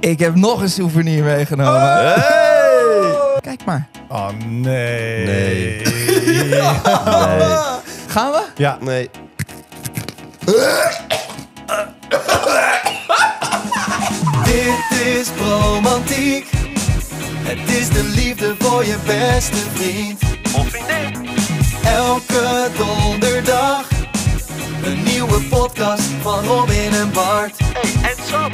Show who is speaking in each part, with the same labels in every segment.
Speaker 1: Ik heb nog een souvenir meegenomen.
Speaker 2: Eh!
Speaker 1: Kijk maar.
Speaker 3: Oh nee.
Speaker 4: Nee.
Speaker 1: Ah, Gaan we?
Speaker 3: Ja.
Speaker 4: Nee.
Speaker 2: Dit is romantiek. Het is de liefde voor je beste vriend. Of vriendin. Elke donderdag. Een nieuwe podcast van Robin en Bart. Hey, en Sam.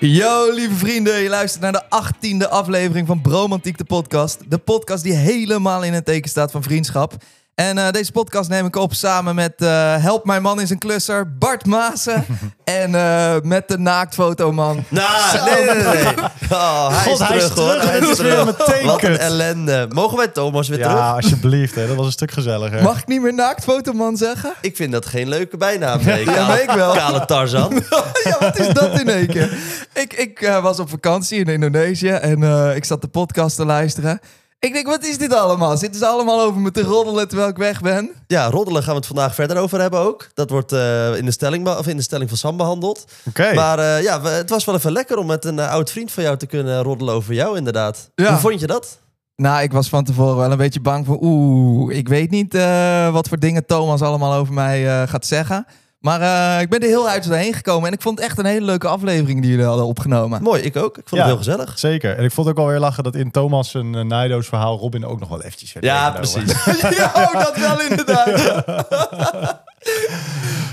Speaker 1: Yo, lieve vrienden. Je luistert naar de 18e aflevering van Bromantiek, de podcast. De podcast die helemaal in het teken staat van vriendschap. En eh, deze podcast neem ik op samen met eh, Help Mijn Man in zijn klusser, Bart Maassen. en eh, met de naaktfotoman.
Speaker 4: Nou, nee, nee, nee. nee. Oh, hij
Speaker 3: God,
Speaker 4: is
Speaker 3: hij is
Speaker 4: terug, hoor.
Speaker 3: terug.
Speaker 4: Hij is
Speaker 3: Dit is weer
Speaker 4: terug.
Speaker 3: meteen
Speaker 4: Wat een
Speaker 3: kut.
Speaker 4: ellende. Mogen wij Thomas weer
Speaker 3: Ja,
Speaker 4: terug?
Speaker 3: alsjeblieft. Hè. Dat was een stuk gezelliger.
Speaker 1: Mag ik niet meer naaktfotoman zeggen?
Speaker 4: Ik vind dat geen leuke bijnaam. Nee,
Speaker 1: Ja,
Speaker 4: kale,
Speaker 1: weet ik wel.
Speaker 4: Kale Tarzan.
Speaker 1: ja, wat is dat in één keer? Ik, ik eh, was op vakantie in Indonesië en eh, ik zat de podcast te luisteren. Ik denk, wat is dit allemaal? Zitten ze allemaal over me te roddelen terwijl ik weg ben?
Speaker 4: Ja, roddelen gaan we het vandaag verder over hebben ook. Dat wordt eh, in, de stelling, be- of in de stelling van Sam behandeld.
Speaker 3: Oké.
Speaker 4: Maar eh, ja, we- het was wel even lekker om met een eh, oud vriend van jou te kunnen roddelen over jou, inderdaad.
Speaker 1: Ja.
Speaker 4: Hoe vond je dat?
Speaker 1: Nou, ik was van tevoren wel een beetje bang voor... Oeh, ik weet niet eh, wat voor dingen Thomas allemaal over mij eh, gaat zeggen. Maar eh, ik ben er heel uit doorheen gekomen. En ik vond het echt een hele leuke aflevering die jullie hadden opgenomen.
Speaker 4: Mooi, ik ook. Ik vond
Speaker 3: Ja.
Speaker 4: het heel gezellig.
Speaker 3: Zeker. En ik vond ook alweer lachen dat in Thomas' en eh, Naido's verhaal Robin ook nog wel eventjes werd
Speaker 1: nou,
Speaker 4: Ja,
Speaker 3: meegenomen.
Speaker 4: precies.
Speaker 1: ja, oh, dat wel inderdaad.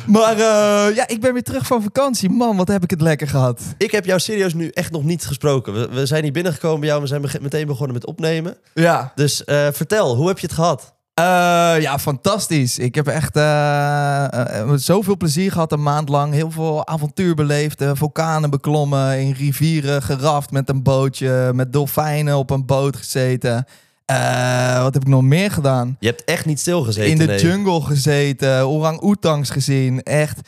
Speaker 1: maar eh, ja, ik ben weer terug van vakantie. Man, wat heb ik het lekker gehad.
Speaker 4: Ik heb jou serieus nu echt nog niet gesproken. We, we zijn hier binnengekomen bij jou. We zijn bege- meteen begonnen met opnemen.
Speaker 1: Ja,
Speaker 4: Dus eh, vertel, hoe heb je het gehad?
Speaker 1: Eh, ja fantastisch. Ik heb echt eh, eh, zoveel plezier gehad een maand lang. Heel veel avontuur beleefd. eh, vulkanen beklommen, in rivieren geraft met een bootje. Met dolfijnen op een boot gezeten. Eh, wat heb ik nog meer gedaan?
Speaker 4: Je hebt echt niet stilgezeten.
Speaker 1: in de
Speaker 4: nee.
Speaker 1: jungle gezeten, orang-oetangs gezien. Echt,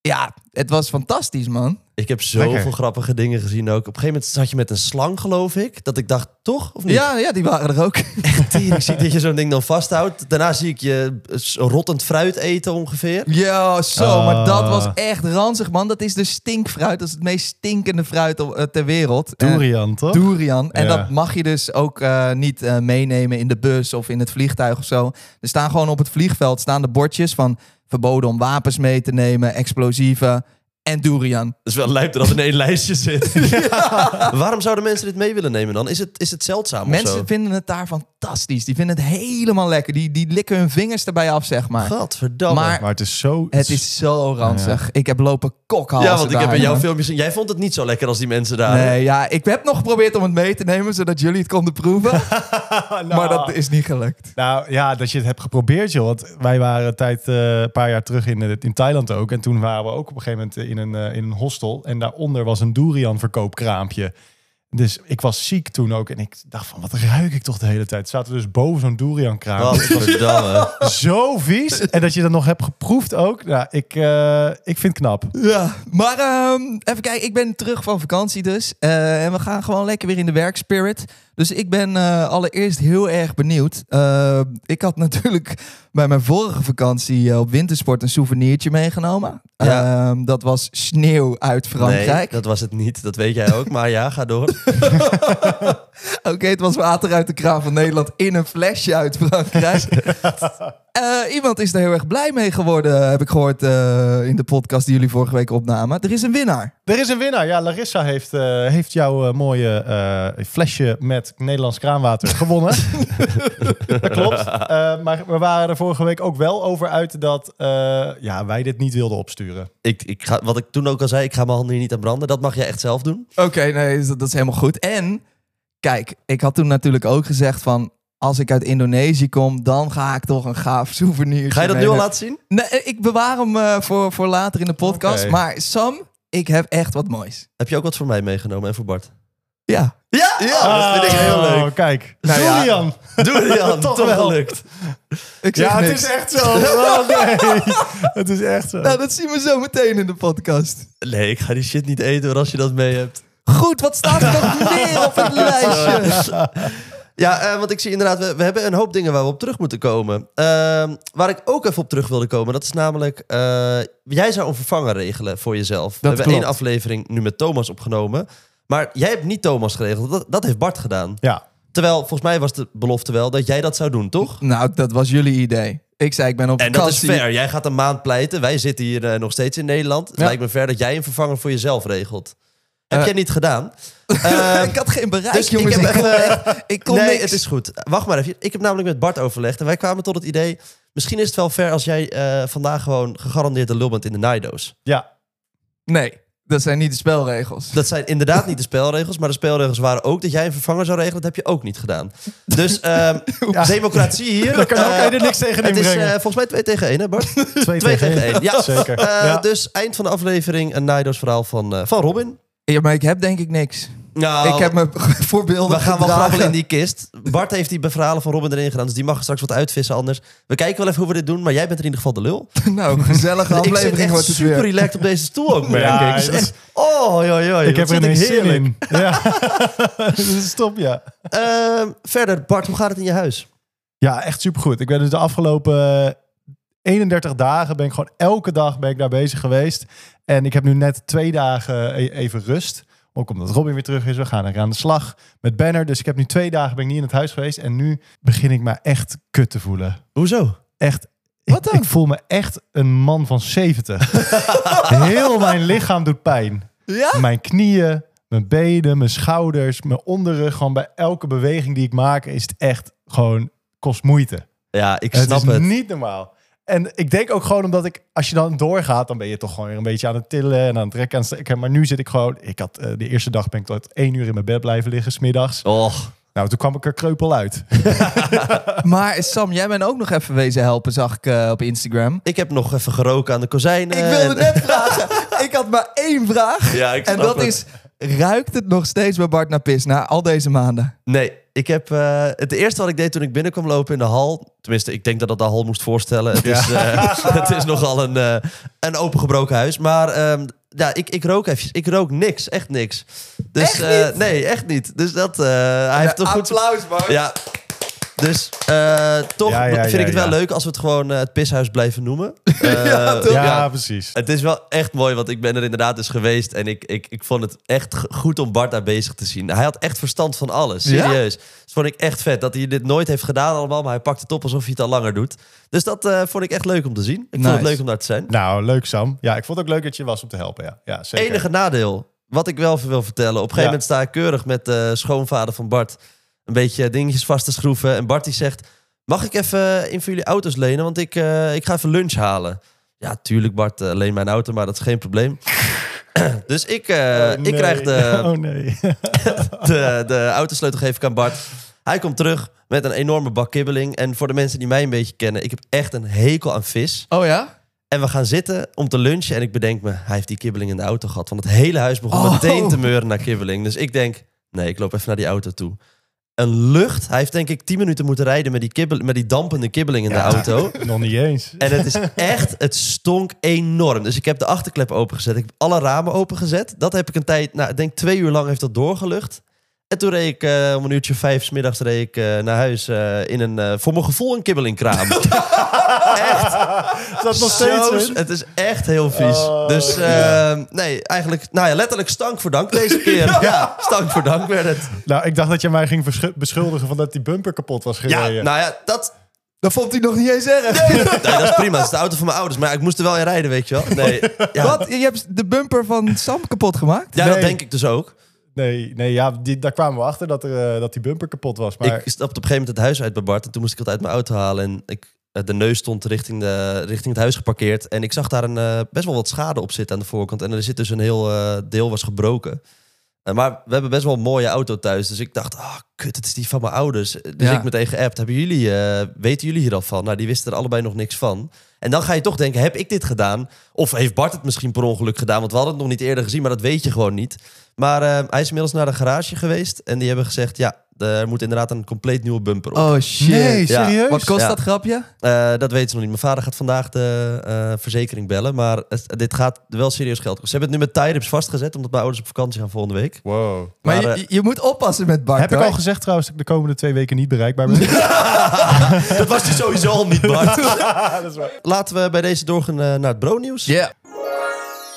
Speaker 1: ja, het was fantastisch, man.
Speaker 4: Ik heb zoveel
Speaker 3: Lekker.
Speaker 4: grappige dingen gezien ook. Op een gegeven moment zat je met een slang, geloof ik. Dat ik dacht, toch? Of niet?
Speaker 1: Ja, ja, die waren er ook.
Speaker 4: Echt tering ziek dat je zo'n ding dan vasthoudt. Daarna zie ik je eh, s- rottend fruit eten ongeveer.
Speaker 1: Ja, zo, maar
Speaker 3: Ah.
Speaker 1: dat was echt ranzig, man. Dat is de stinkfruit. Dat is het meest stinkende fruit op- eh, ter wereld. Eh,
Speaker 3: Durian, toch?
Speaker 1: Durian. En
Speaker 3: Ja.
Speaker 1: dat mag je dus ook eh, niet eh, meenemen in de bus of in het vliegtuig of zo. Er staan gewoon op het vliegveld staan de bordjes van verboden om wapens mee te nemen, explosieven en durian.
Speaker 4: Dat is wel lijp dat in één lijstje zit. Waarom zouden mensen dit mee willen nemen dan? Is het, is het zeldzaam of zo?
Speaker 1: Mensen vinden het daar fantastisch. Die vinden het helemaal lekker. Die, die likken hun vingers erbij af, zeg maar.
Speaker 4: Gadverdamme.
Speaker 1: Maar-
Speaker 3: Maar het is zo...
Speaker 1: Het is zo ranzig. Ik heb lopen kokhalzen
Speaker 4: ja, want ik heb
Speaker 1: daar,
Speaker 4: in jouw
Speaker 1: man.
Speaker 4: filmpjes... Jij vond het niet zo lekker als die mensen daar.
Speaker 1: Nee, ja, ik heb nog geprobeerd om het mee te nemen, zodat jullie het konden proeven.
Speaker 3: Nou,
Speaker 1: Maar dat is niet gelukt.
Speaker 3: Nou ja, dat je het hebt geprobeerd, joh. Want wij waren een tijd, eh, een paar jaar terug in, eh, in Thailand ook. En toen waren we ook op een gegeven moment in een, eh, in een hostel. En daaronder was een durian-verkoopkraampje. Dus ik was ziek toen ook. En ik dacht van, wat ruik ik toch de hele tijd? Zaten we dus boven zo'n durian-kraampje.
Speaker 4: Gadverdamme.
Speaker 3: Zo vies. En dat je dat nog hebt geproefd ook. Nou, ik, eh, ik vind het knap.
Speaker 1: Ja, maar ehm, even kijken. Ik ben terug van vakantie dus. Eh, en we gaan gewoon lekker weer in de werkspirit. Dus ik ben eh, allereerst heel erg benieuwd. Eh, ik had natuurlijk bij mijn vorige vakantie eh, op wintersport een souvenirtje meegenomen.
Speaker 4: Ja.
Speaker 1: Ehm, dat was sneeuw uit
Speaker 4: Nee,
Speaker 1: Frankrijk.
Speaker 4: dat was het niet. Dat weet jij ook. Maar ja, ga door.
Speaker 1: Oké, het was water uit de kraan van Nederland in een flesje uit Frankrijk. Eh, iemand is daar heel erg blij mee geworden, heb ik gehoord eh, in de podcast die jullie vorige week opnamen. Er is een winnaar.
Speaker 3: Er is een winnaar. Ja, Larissa heeft, eh, heeft jouw eh, mooie eh, flesje met Nederlands kraanwater gewonnen. dat klopt. Eh, maar we waren er vorige week ook wel over uit dat eh, ja, wij dit niet wilden opsturen.
Speaker 4: Ik, ik ga, wat ik toen ook al zei, ik ga mijn handen hier niet aan branden. Dat mag jij echt zelf doen.
Speaker 1: Oké, nee, dat, dat is helemaal goed. En kijk, ik had toen natuurlijk ook gezegd van... als ik uit Indonesië kom, dan ga ik toch een gaaf souvenir.
Speaker 4: Ga je dat nu al laten zien?
Speaker 1: Nee, ik bewaar hem eh, voor, voor later in de podcast.
Speaker 3: Oké.
Speaker 1: Maar Sam, ik heb echt wat moois.
Speaker 4: Heb je ook wat voor mij meegenomen en voor Bart?
Speaker 1: Ja.
Speaker 4: Ja, dat vind ik heel
Speaker 3: Oh,
Speaker 4: leuk.
Speaker 3: Kijk,
Speaker 1: Nou ja.
Speaker 3: Julian.
Speaker 4: Doe het Jan,
Speaker 3: Toch
Speaker 4: toch wel
Speaker 3: wel.
Speaker 4: lukt.
Speaker 1: Ik zeg
Speaker 3: Ja, het
Speaker 1: niks.
Speaker 3: is echt zo. Oh, nee. Het is echt zo.
Speaker 1: Nou, dat zien we zo meteen in de podcast.
Speaker 4: Nee, ik ga die shit niet eten hoor, als je dat mee hebt.
Speaker 1: Goed, wat staat er nog meer op het lijstje?
Speaker 4: Ja, eh, want ik zie inderdaad, we, we hebben een hoop dingen waar we op terug moeten komen. Ehm, waar ik ook even op terug wilde komen, dat is namelijk... eh, jij zou een vervanger regelen voor jezelf. we hebben
Speaker 1: klopt.
Speaker 4: één aflevering nu met Thomas opgenomen. Maar jij hebt niet Thomas geregeld, dat, dat heeft Bart gedaan.
Speaker 3: Ja,
Speaker 4: Terwijl, volgens mij was de belofte wel dat jij dat zou doen, toch?
Speaker 1: Nou, dat was jullie idee. Ik zei, ik ben op
Speaker 4: En dat is
Speaker 1: vakantie.
Speaker 4: fair. Jij gaat een maand pleiten. Wij zitten hier eh, nog steeds in Nederland. Het
Speaker 3: Ja.
Speaker 4: lijkt me fair dat jij een vervanger voor jezelf regelt. Heb
Speaker 1: Eh.
Speaker 4: jij niet gedaan?
Speaker 1: ik had geen bereik,
Speaker 4: dus ik
Speaker 1: jongens.
Speaker 4: heb
Speaker 1: ik,
Speaker 4: echt,
Speaker 1: ik kon
Speaker 4: nee,
Speaker 1: niks.
Speaker 4: het is goed. Wacht maar even. Ik heb namelijk met Bart overlegd en wij kwamen tot het idee... misschien is het wel fair als jij eh, vandaag gewoon gegarandeerd de lul bent in de naaidoos.
Speaker 3: ja.
Speaker 1: Nee, dat zijn niet de spelregels.
Speaker 4: Dat zijn inderdaad niet de spelregels, maar de spelregels waren ook... dat jij een vervanger zou regelen. Dat heb je ook niet gedaan. Dus ehm, democratie hier.
Speaker 3: Daar kan,
Speaker 4: eh,
Speaker 3: daar kan je er niks tegen
Speaker 4: het is eh,
Speaker 3: inbrengen.
Speaker 4: volgens mij 2 tegen 1, hè Bart?
Speaker 3: twee,
Speaker 4: twee tegen één, ja.
Speaker 3: Zeker.
Speaker 4: Eh,
Speaker 3: ja.
Speaker 4: Dus eind van de aflevering een Naidos verhaal van, eh, van Robin.
Speaker 1: Ja, maar ik heb denk ik niks.
Speaker 4: Nou,
Speaker 1: ik heb mijn voorbeelden
Speaker 4: we gaan wel
Speaker 1: gedragen.
Speaker 4: grabbelen in die kist. Bart heeft die verhalen van Robin erin gedaan, dus die mag er straks wat uitvissen anders. We kijken wel even hoe we dit doen, maar jij bent in ieder geval de lul.
Speaker 1: Nou, gezellige
Speaker 4: ik zit
Speaker 1: aflevering
Speaker 4: echt
Speaker 1: wordt het
Speaker 4: super
Speaker 1: weer.
Speaker 4: relaxed op deze stoel ook, merk
Speaker 3: Ja,
Speaker 4: ik. Het is
Speaker 3: dat is-
Speaker 4: echt- oh, joh, joh,
Speaker 3: Ik heb er
Speaker 4: een
Speaker 3: een zin in. Ja. Stop, ja.
Speaker 4: Ehm, verder, Bart, hoe gaat het in je huis?
Speaker 3: Ja, echt supergoed. Ik ben dus de afgelopen eh, 31 dagen ben ik gewoon elke dag ben ik daar bezig geweest. En ik heb nu net twee dagen e- even rust. Ook omdat Robin weer terug is. We gaan er aan de slag met Banner. Dus ik heb nu twee dagen ben ik niet in het huis geweest. En nu begin ik me echt kut te voelen.
Speaker 4: Hoezo?
Speaker 3: Echt.
Speaker 1: Wat
Speaker 3: ik,
Speaker 1: dan?
Speaker 3: ik voel me echt een man van 70. Heel mijn lichaam doet pijn.
Speaker 1: Ja?
Speaker 3: Mijn knieën, mijn benen, mijn schouders, mijn onderrug. Gewoon bij elke beweging die ik maak is het echt gewoon kost moeite.
Speaker 4: Ja, ik
Speaker 3: Het
Speaker 4: snap
Speaker 3: is
Speaker 4: het.
Speaker 3: niet normaal. En ik denk ook gewoon omdat ik, als je dan doorgaat, dan ben je toch gewoon weer een beetje aan het tillen en aan het trekken. aan het strekken. Maar nu zit ik gewoon, ik had eh, de eerste dag ben ik tot één uur in mijn bed blijven liggen, smiddags.
Speaker 4: Och,
Speaker 3: Nou, toen kwam ik er kreupel uit.
Speaker 1: Maar Sam, jij bent ook nog even wezen helpen, zag ik eh, op Instagram. Eh,
Speaker 4: ik heb nog even geroken aan de kozijnen.
Speaker 1: Ik wilde
Speaker 4: en-
Speaker 1: net vragen. Ik had maar één vraag.
Speaker 4: Ja, ik
Speaker 1: en
Speaker 4: snap
Speaker 1: dat
Speaker 4: het.
Speaker 1: is, ruikt het nog steeds bij Bart naar pis na al deze maanden?
Speaker 4: Nee, ik heb eh, het eerste wat ik deed toen ik binnenkwam lopen in de hal. Tenminste, ik denk dat dat de hal moest voorstellen. Het, is, eh, het is nogal een, eh, een opengebroken huis. Maar ehm, ja, ik, ik rook even. Ik rook niks, echt niks. Dus,
Speaker 1: Echt
Speaker 4: eh,
Speaker 1: niet?
Speaker 4: nee, echt niet. Dus dat, eh, hij heeft toch goed.
Speaker 1: Applaus, Bart.
Speaker 4: Ja. Dus eh, toch
Speaker 3: Ja, ja,
Speaker 4: vind
Speaker 3: ja,
Speaker 4: ik het wel
Speaker 3: ja.
Speaker 4: leuk als we het gewoon eh, het pishuis blijven noemen. Eh,
Speaker 1: toch?
Speaker 3: ja,
Speaker 4: ja,
Speaker 3: precies.
Speaker 4: het is wel echt mooi, want ik ben er inderdaad dus geweest. En ik, ik, ik vond het echt g- goed om Bart daar bezig te zien. Hij had echt verstand van alles,
Speaker 1: Ja?
Speaker 4: serieus. Dat vond ik echt vet. Dat hij dit nooit heeft gedaan allemaal, maar hij pakt het op alsof hij het al langer doet. Dus dat eh, vond ik echt leuk om te zien. Ik vond
Speaker 1: Nice.
Speaker 4: het leuk om daar te zijn.
Speaker 3: Nou, leuk Sam. Ja, ik vond het ook leuk dat je was om te helpen. Ja, ja zeker.
Speaker 4: Enige nadeel, wat ik wel even wil vertellen. Op een gegeven
Speaker 3: Ja.
Speaker 4: moment sta ik keurig met de schoonvader van Bart... een beetje dingetjes vast te schroeven. En Bart die zegt, mag ik even een van jullie auto's lenen? Want ik, eh, ik ga even lunch halen. Ja, tuurlijk Bart, eh, leen mijn auto, maar dat is geen probleem. dus ik, eh,
Speaker 3: Oh, nee.
Speaker 4: ik krijg de,
Speaker 3: Oh nee.
Speaker 4: de, de autosleutel geef ik aan Bart. Hij komt terug met een enorme bak kibbeling. En voor de mensen die mij een beetje kennen... ik heb echt een hekel aan vis.
Speaker 1: Oh ja?
Speaker 4: En we gaan zitten om te lunchen. En ik bedenk me, hij heeft die kibbeling in de auto gehad. Want het hele huis begon
Speaker 1: Oh.
Speaker 4: meteen te meuren naar kibbeling. Dus ik denk, nee, ik loop even naar die auto toe. Een lucht. Hij heeft denk ik 10 minuten moeten rijden met die, kibbel, met die dampende kibbeling in de auto.
Speaker 3: Nog niet eens.
Speaker 4: En het is echt, het stonk enorm. Dus ik heb de achterklep opengezet. Ik heb alle ramen opengezet. Dat heb ik een tijd, nou, ik denk twee uur lang heeft dat doorgelucht. En toen reed ik eh, om een uurtje of vijf 's middags reed ik, eh, naar huis eh, in een, eh, voor mijn gevoel, een kibbelingkraam. echt.
Speaker 3: Is dat
Speaker 4: Zo,
Speaker 3: nog steeds in?
Speaker 4: Het is echt heel vies.
Speaker 3: Oh,
Speaker 4: dus
Speaker 3: ja.
Speaker 4: ehm, nee, eigenlijk, nou ja, letterlijk stank voor dank deze keer. ja. stank voor dank werd het.
Speaker 3: Nou, ik dacht dat je mij ging versch- beschuldigen van dat die bumper kapot was
Speaker 4: Ja,
Speaker 3: gereden.
Speaker 4: nou ja, dat,
Speaker 1: Dat vond hij nog niet eens erg.
Speaker 4: nee, dat is prima. Dat is de auto van mijn ouders. Maar ja, ik moest er wel in rijden, weet je wel. Nee, ja,
Speaker 1: Wat? Je hebt de bumper van Sam kapot gemaakt?
Speaker 4: ja dat
Speaker 3: Nee.
Speaker 4: denk ik dus ook.
Speaker 3: Nee, nee ja, die, daar kwamen we achter dat, er, eh, dat die bumper kapot was. Maar
Speaker 4: Ik stapte op een gegeven moment het huis uit bij Bart. En toen moest ik het uit mijn auto halen. En ik, eh, de neus stond richting, de, richting het huis geparkeerd. En ik zag daar een, eh, best wel wat schade op zitten aan de voorkant. En er zit dus een heel eh, deel was gebroken. Eh, maar we hebben best wel een mooie auto thuis. Dus ik dacht, ah, kut, het is die van mijn ouders. Dus
Speaker 1: Ja.
Speaker 4: ik meteen geappt. Hebben jullie, eh, weten jullie hier al van? Nou, die wisten er allebei nog niks van. En dan ga je toch denken, heb ik dit gedaan? Of heeft Bart het misschien per ongeluk gedaan? Want we hadden het nog niet eerder gezien, maar dat weet je gewoon niet. Maar eh, hij is inmiddels naar de garage geweest. En die hebben gezegd, ja, er moet inderdaad een compleet nieuwe bumper op.
Speaker 1: Oh shit.
Speaker 3: Nee,
Speaker 4: Ja.
Speaker 3: serieus?
Speaker 1: Wat kost
Speaker 4: Ja.
Speaker 1: dat grapje?
Speaker 4: Eh, dat weten ze nog niet. Mijn vader gaat vandaag de eh, verzekering bellen. Maar het- dit gaat wel serieus geld kosten. Ze hebben het nu met tie-ups vastgezet, omdat mijn ouders op vakantie gaan volgende week.
Speaker 3: Wow.
Speaker 1: Maar,
Speaker 4: Maar, eh,
Speaker 1: je, je moet oppassen met Bart.
Speaker 3: Heb ik
Speaker 1: hoor.
Speaker 3: al gezegd trouwens dat ik de komende twee weken niet bereikbaar ben? Ja,
Speaker 4: Dat was dus sowieso al niet, Bart.
Speaker 3: dat is waar.
Speaker 4: Laten we bij deze doorgaan eh, naar het bro-nieuws.
Speaker 1: Ja.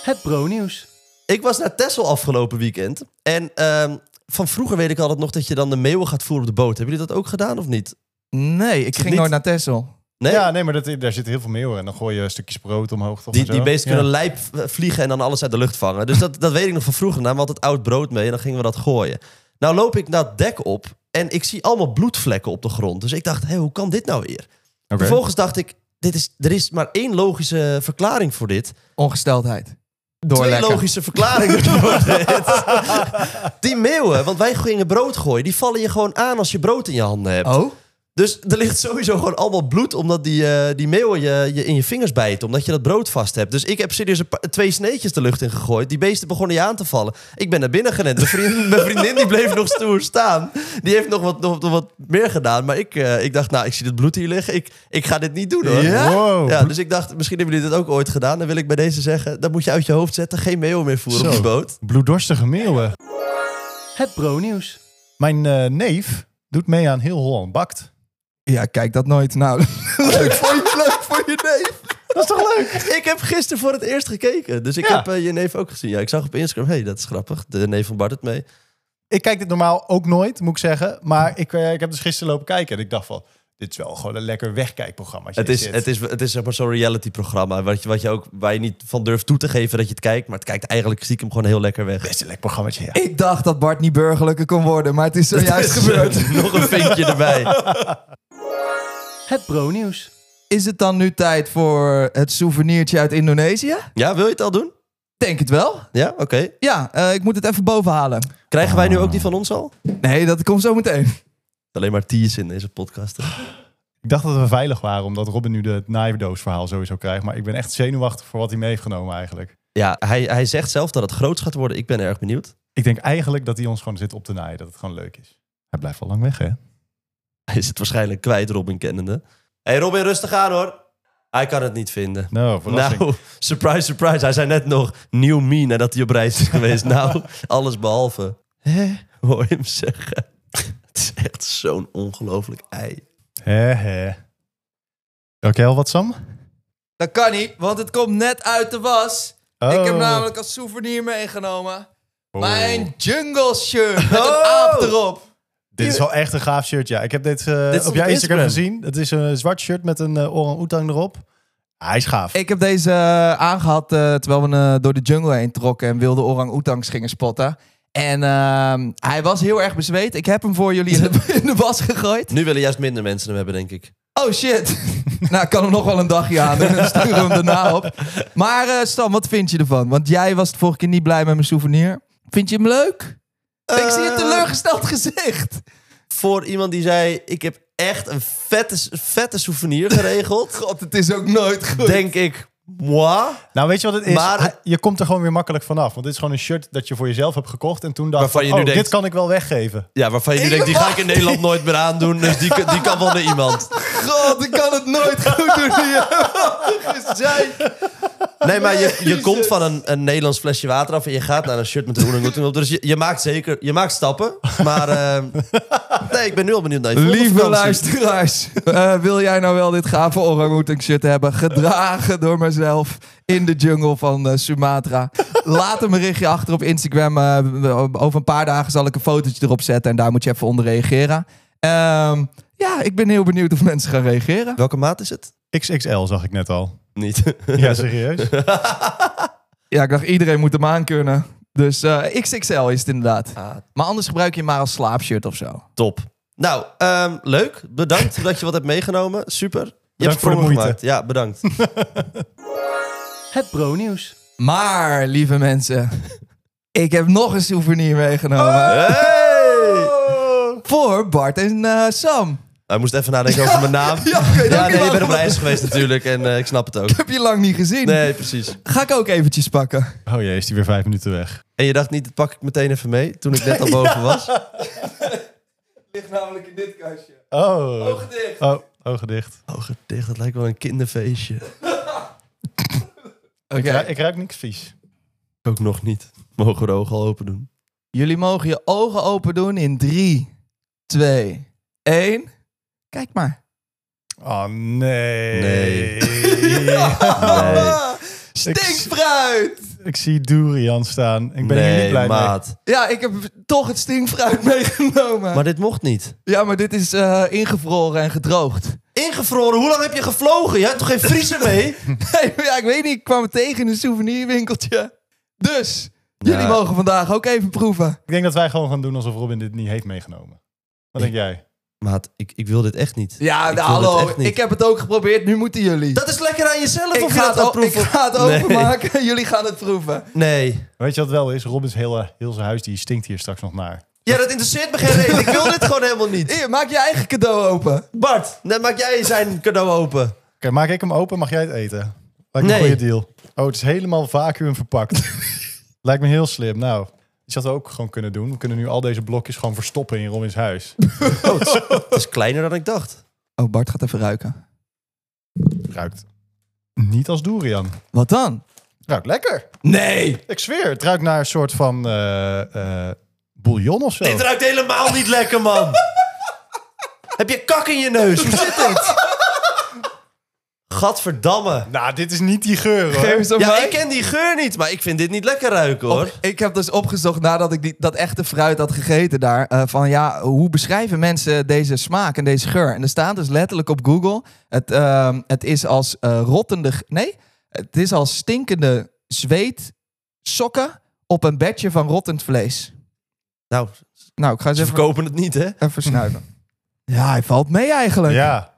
Speaker 3: Het bro-nieuws.
Speaker 4: Ik was naar Texel afgelopen weekend. En ehm, van vroeger weet ik altijd nog dat je dan de meeuwen gaat voeren op de boot. Hebben jullie dat ook gedaan of niet?
Speaker 1: Nee, ik ging
Speaker 4: niet-
Speaker 1: nooit naar Texel.
Speaker 4: Nee?
Speaker 3: Ja, nee, maar dat, daar zitten heel veel meeuwen. En dan gooi je stukjes brood omhoog. Toch
Speaker 4: Die,
Speaker 3: en zo.
Speaker 4: die beesten
Speaker 3: Ja.
Speaker 4: kunnen lijp v- vliegen en dan alles uit de lucht vangen. Dus dat, dat weet ik nog van vroeger. Namen we altijd oud brood mee en dan gingen we dat gooien. Nou loop ik naar het dek op en ik zie allemaal bloedvlekken op de grond. Dus ik dacht, hé, hoe kan dit nou weer?
Speaker 3: Oké.
Speaker 4: Vervolgens dacht ik, dit is, er is maar één logische verklaring voor dit.
Speaker 1: Ongesteldheid. Door
Speaker 4: Twee
Speaker 1: lekker.
Speaker 4: logische verklaringen voor dit. Die meeuwen, want wij gingen brood gooien, die vallen je gewoon aan als je brood in je handen hebt.
Speaker 1: Oh?
Speaker 4: Dus er ligt sowieso gewoon allemaal bloed omdat die, eh, die meeuwen je, je in je vingers bijten. Omdat je dat brood vast hebt. Dus ik heb serieus een pa- twee sneetjes de lucht in gegooid. Die beesten begonnen je aan te vallen. Ik ben naar binnen gerend. Mijn, vriend, mijn vriendin die bleef nog stoer staan. Die heeft nog wat, nog, nog wat meer gedaan. Maar ik, eh, ik dacht, nou, ik zie dit bloed hier liggen. Ik, ik ga dit niet doen hoor.
Speaker 3: Ja? Wow.
Speaker 4: Ja, dus ik dacht, misschien hebben jullie dit ook ooit gedaan. Dan wil ik bij deze zeggen, dat moet je uit je hoofd zetten. Geen meeuwen meer voeren op
Speaker 3: Zo.
Speaker 4: die boot.
Speaker 3: Bloeddorstige meeuwen. Het bro-nieuws. Mijn eh, neef doet mee aan Heel Holland Bakt.
Speaker 1: Ja, kijk dat nooit. Nou, leuk voor je, leuk voor je neef.
Speaker 3: Dat is toch leuk?
Speaker 4: Ik heb gisteren voor het eerst gekeken. Dus ik
Speaker 3: Ja.
Speaker 4: heb eh, je neef ook gezien. Ja, ik zag op Instagram, hé, hey, dat is grappig. De neef van Bart het mee.
Speaker 3: Ik kijk dit normaal ook nooit, moet ik zeggen. Maar ik, eh, ik heb dus gisteren lopen kijken en ik dacht van... Dit is wel gewoon een lekker wegkijkprogramma.
Speaker 4: Het is, het is, het is zeg maar zo'n reality-programma wat je, wat je ook, waar je niet van durft toe te geven dat je het kijkt, maar het kijkt eigenlijk stiekem gewoon heel lekker weg.
Speaker 3: best een lekker programmaatje, ja.
Speaker 1: Ik dacht dat Bart niet burgerlijker kon worden, maar het is zojuist
Speaker 4: Dus,
Speaker 1: gebeurd.
Speaker 4: eh, nog een vinkje erbij.
Speaker 3: Het bro-nieuws.
Speaker 1: Is het dan nu tijd voor het souvenirtje uit Indonesië?
Speaker 4: Ja, wil je het al doen?
Speaker 1: Denk het wel.
Speaker 4: Ja, oké.
Speaker 1: Ja, eh, ik moet het even bovenhalen.
Speaker 4: Krijgen
Speaker 3: Ah.
Speaker 4: wij nu ook die van ons al?
Speaker 1: Nee, dat komt zo meteen.
Speaker 4: Alleen maar tease in deze podcast. hè.
Speaker 3: Ik dacht dat we veilig waren, omdat Robin nu het naaidoosverhaal sowieso krijgt. Maar ik ben echt zenuwachtig voor wat hij mee heeft genomen eigenlijk.
Speaker 4: Ja, hij, hij zegt zelf dat het groots gaat worden. Ik ben erg benieuwd.
Speaker 3: Ik denk eigenlijk dat hij ons gewoon zit op te naaien. Dat het gewoon leuk is. Hij blijft al lang weg, hè?
Speaker 4: Hij zit waarschijnlijk kwijt, Robin kennende. Hé, hey, Robin, rustig aan hoor. Hij kan het niet vinden.
Speaker 3: Nou, verrassing.
Speaker 4: Nou, surprise, surprise. Hij zei net nog nieuw me nadat hij op reis is geweest. nou, alles behalve. Hè? Hoor je hem zeggen. Het is echt zo'n ongelooflijk ei.
Speaker 3: Hè, hè. Oké, al wat, Sam?
Speaker 1: Dat kan niet, want het komt net uit de was. Ik heb
Speaker 3: Oh.
Speaker 1: namelijk als souvenir meegenomen
Speaker 3: Oh.
Speaker 1: mijn jungle shirt met
Speaker 4: Oh.
Speaker 1: een aap erop.
Speaker 3: Dit is wel echt een gaaf shirt, ja. Ik heb dit, eh,
Speaker 4: Dit is
Speaker 3: op jouw
Speaker 4: op
Speaker 3: Instagram
Speaker 4: Instagram.
Speaker 3: gezien. Het is een zwart shirt met een eh, orang-oetang erop. Hij is gaaf.
Speaker 1: Ik heb deze eh, aangehad eh, terwijl we eh, door de jungle heen trokken en wilde orang-oetangs gingen spotten. En ehm, hij was heel erg bezweet. Ik heb hem voor jullie in de, in de was gegooid.
Speaker 4: Nu willen juist minder mensen hem hebben, denk ik.
Speaker 1: Oh shit. nou, ik kan hem nog wel een dagje aan en sturen we hem daarna op. Maar eh, Stan, wat vind je ervan? Want jij was de vorige keer niet blij met mijn souvenir. Vind je hem leuk? Ik zie een teleurgesteld gezicht.
Speaker 4: Voor iemand die zei, ik heb echt een vette, vette souvenir geregeld.
Speaker 1: God, het is ook nooit goed.
Speaker 4: denk ik, moi.
Speaker 3: Nou, weet je wat het is?
Speaker 4: Maar-
Speaker 3: Hij- je komt er gewoon weer makkelijk vanaf. Want dit is gewoon een shirt dat je voor jezelf hebt gekocht. En toen dacht
Speaker 4: Waarvan je
Speaker 3: van,
Speaker 4: nu
Speaker 3: oh,
Speaker 4: denkt-
Speaker 3: dit kan ik wel weggeven.
Speaker 4: Ja, waarvan je nu denkt, die ga ik in Nederland nooit meer aandoen. Dus die, die kan wel naar iemand.
Speaker 1: God, ik kan het nooit goed doen hier. Gezeik.
Speaker 4: Nee, maar je, je komt van een, een Nederlands flesje water af en je gaat naar een shirt met een oening op. Dus je, je maakt zeker, je maakt stappen. Maar eh, nee, ik ben nu al benieuwd naar je volgende
Speaker 1: Lieve
Speaker 4: vakantie.
Speaker 1: luisteraars, eh, wil jij nou wel dit gave orangutang shirt hebben? Gedragen door mezelf in de jungle van eh, Sumatra. Laat een berichtje achter op Instagram. eh, we- over een paar dagen zal ik een fotootje erop zetten en daar moet je even onder reageren. Ehm, ja, ik ben heel benieuwd of mensen gaan reageren.
Speaker 4: Welke maat is het?
Speaker 3: XXL zag ik net al.
Speaker 4: Niet.
Speaker 3: Ja, serieus?
Speaker 1: Ja, ik dacht iedereen moet hem aankunnen. Dus eh, XXL is het inderdaad.
Speaker 4: Ah,
Speaker 1: Maar anders gebruik je hem maar als slaapshirt of zo.
Speaker 4: top. Nou, ehm, leuk. Bedankt dat je wat hebt meegenomen. Super. Je hebt het
Speaker 3: voor de
Speaker 4: me
Speaker 3: moeite.
Speaker 4: gemaakt. Ja, bedankt.
Speaker 3: het pro-nieuws.
Speaker 1: Maar, lieve mensen, ik heb nog een souvenir meegenomen.
Speaker 4: Hey!
Speaker 1: Voor Bart en eh, Sam.
Speaker 4: Hij moest even nadenken over mijn naam.
Speaker 1: Ja, ik weet
Speaker 4: Ja,
Speaker 1: ook
Speaker 4: nee,
Speaker 1: niet
Speaker 4: je bent op
Speaker 1: waarom.
Speaker 4: reis geweest natuurlijk en eh, ik snap het ook.
Speaker 1: heb je lang niet gezien.
Speaker 4: Nee, precies.
Speaker 1: Ga ik ook eventjes pakken.
Speaker 3: Oh jee, is die weer vijf minuten weg.
Speaker 4: En je dacht niet, dat pak ik meteen even mee toen ik net al boven was?
Speaker 1: Ligt namelijk in dit kastje.
Speaker 3: Oh,
Speaker 1: Ogen dicht.
Speaker 3: oh ogen dicht.
Speaker 4: Ogen dicht, dat lijkt wel een kinderfeestje. Oké.
Speaker 1: Oké.
Speaker 3: Ja, ik ruik niks vies.
Speaker 4: Ook nog niet. Mogen we de ogen al open doen?
Speaker 1: Jullie mogen je ogen open doen in 3, 2, 1. Kijk maar.
Speaker 3: Oh, nee.
Speaker 4: Nee.
Speaker 1: Ah, Stinkfruit!
Speaker 3: Ik zie durian staan. Ik ben hier niet
Speaker 4: nee,
Speaker 3: blij
Speaker 4: maat.
Speaker 1: Ja, ik heb toch het stinkfruit meegenomen.
Speaker 4: Maar dit mocht niet.
Speaker 1: Ja, maar dit is eh, ingevroren en gedroogd.
Speaker 4: Ingevroren, hoe lang heb je gevlogen? Je hebt toch geen vriezer mee?
Speaker 1: Nee, maar ja, ik weet niet, ik kwam het tegen in een souvenirwinkeltje. Dus, jullie
Speaker 4: Ja.
Speaker 1: mogen vandaag ook even proeven.
Speaker 3: mee. Ik denk dat wij gewoon gaan doen alsof Robin dit niet heeft meegenomen. Wat denk jij?
Speaker 4: Maat, ik, ik wil dit echt niet.
Speaker 1: Ja,
Speaker 4: Ik
Speaker 1: nou,
Speaker 4: wil dit
Speaker 1: hallo,
Speaker 4: echt niet.
Speaker 1: ik heb het ook geprobeerd, nu moeten jullie.
Speaker 4: Dat is lekker aan jezelf
Speaker 1: ik,
Speaker 4: of
Speaker 1: ga
Speaker 4: je
Speaker 1: het
Speaker 4: dat
Speaker 1: o-
Speaker 4: gaat proeven.
Speaker 1: ik ga het
Speaker 4: Nee.
Speaker 1: openmaken, jullie gaan het proeven.
Speaker 4: Nee.
Speaker 3: Weet je wat wel is? Robins hele, heel zijn huis die stinkt hier straks nog naar.
Speaker 4: Ja, dat interesseert me geen reden. Ik wil dit gewoon helemaal niet.
Speaker 1: Hier, maak je eigen cadeau open.
Speaker 4: Bart, dan maak jij zijn cadeau open.
Speaker 3: Oké, maak ik hem open, mag jij het eten? Lijkt
Speaker 4: Nee.
Speaker 3: me een goede deal. Oh, het is helemaal vacuüm verpakt. Lijkt me heel slim. Nou, je zou het ook gewoon kunnen doen. We kunnen nu al deze blokjes gewoon verstoppen in Robins huis.
Speaker 4: Oh, Het is kleiner dan ik dacht.
Speaker 1: Oh, Bart gaat even ruiken.
Speaker 3: Ruikt niet als durian.
Speaker 1: Wat dan?
Speaker 3: Ruikt lekker.
Speaker 1: Nee!
Speaker 3: Ik zweer, het ruikt naar een soort van eh, eh, bouillon of zo.
Speaker 1: Oh.
Speaker 4: Dit ruikt helemaal niet lekker, man. Heb je kak in je neus? Hoe zit dit? Gadverdamme.
Speaker 3: Nou, dit is niet die geur hoor.
Speaker 1: Geef eens aan
Speaker 4: Ja,
Speaker 1: mij.
Speaker 4: ik ken die geur niet, maar ik vind dit niet lekker ruiken, hoor.
Speaker 1: Op- ik heb dus opgezocht nadat ik die, dat echte fruit had gegeten daar. eh, van ja, hoe beschrijven mensen deze smaak en deze geur? En er staat dus letterlijk op Google: het, ehm, het is als eh, rottende. g- Nee, het is als stinkende zweet sokken op een bedje van rottend vlees.
Speaker 4: Nou,
Speaker 1: Nou, ik ga eens
Speaker 4: ze
Speaker 1: even,
Speaker 4: verkopen het niet, hè?
Speaker 1: even snuiven. Ja, hij valt mee eigenlijk.
Speaker 3: Ja,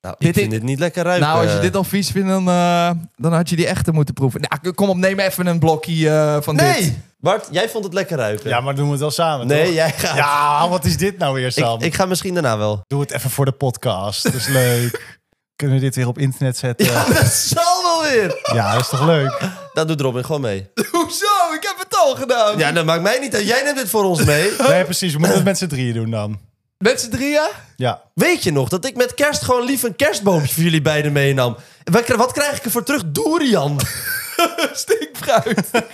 Speaker 4: Nou, ik
Speaker 1: Dit
Speaker 4: vind
Speaker 1: is-
Speaker 4: dit niet lekker ruiken.
Speaker 1: Nou, als je dit al vies vindt, dan, eh, dan had je die echte moeten proeven. Nou, kom op, neem even een blokje eh, van dit.
Speaker 4: Nee! Bart, jij vond het lekker ruiken.
Speaker 3: ja maar doen we het wel samen
Speaker 4: nee,
Speaker 3: toch?
Speaker 4: jij gaat.
Speaker 3: Ja, wat is dit nou weer Sam?
Speaker 4: ik, ik ga misschien daarna wel.
Speaker 3: Doe het even voor de podcast. Dat is leuk. Kunnen we dit weer op internet zetten?
Speaker 4: Ja,
Speaker 3: Ja,
Speaker 4: dat zal wel weer.
Speaker 3: dat is toch leuk?
Speaker 4: Dat doet Robin gewoon mee.
Speaker 1: Hoezo? Ik heb het al gedaan.
Speaker 4: Ja, dat maakt mij niet uit. Jij neemt dit voor ons mee.
Speaker 3: Nee, precies. We moeten het met z'n drieën doen dan.
Speaker 1: Met z'n drieën?
Speaker 3: Ja.
Speaker 4: Weet je nog dat ik met kerst gewoon lief een kerstboompje voor jullie beiden meenam? Wat, kri- wat krijg ik ervoor terug? Durian.
Speaker 1: Stinkfruit.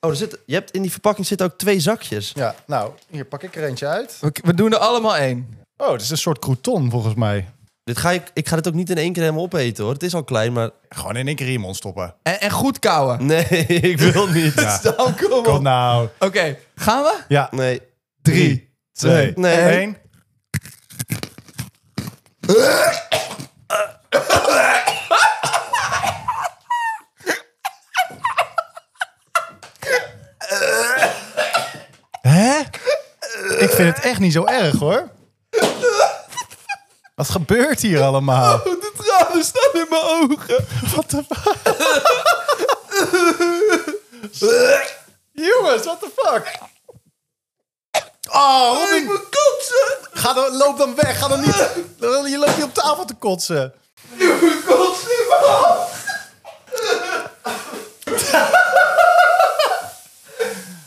Speaker 4: Oh, er zit, je hebt, in die verpakking zitten ook twee zakjes.
Speaker 3: ja. Nou, hier pak ik er eentje uit.
Speaker 1: We, we doen er allemaal één.
Speaker 3: Oh, het is een soort crouton volgens mij.
Speaker 4: Dit ga ik, ik ga dit ook niet in één keer helemaal opeten hoor. Het is al klein, maar...
Speaker 3: Gewoon in één keer in je mond stoppen.
Speaker 1: En, en goed kouwen.
Speaker 4: Nee, ik wil niet.
Speaker 3: Ja.
Speaker 1: Dan kom
Speaker 3: Kom
Speaker 1: op.
Speaker 3: nou.
Speaker 1: Oké, gaan we?
Speaker 3: Ja.
Speaker 4: Nee.
Speaker 1: Drie.
Speaker 3: Twee.
Speaker 4: Nee.
Speaker 3: één. Hè? Ik vind het echt niet zo erg hoor. Wat gebeurt hier allemaal?
Speaker 1: De tranen staan in mijn ogen.
Speaker 3: Wat de fuck? Jongens, what the fuck? Oh, Robin.
Speaker 1: kotsen.
Speaker 3: Ga dan, loop dan weg. Ga dan niet. Je loopt niet op tafel te kotsen.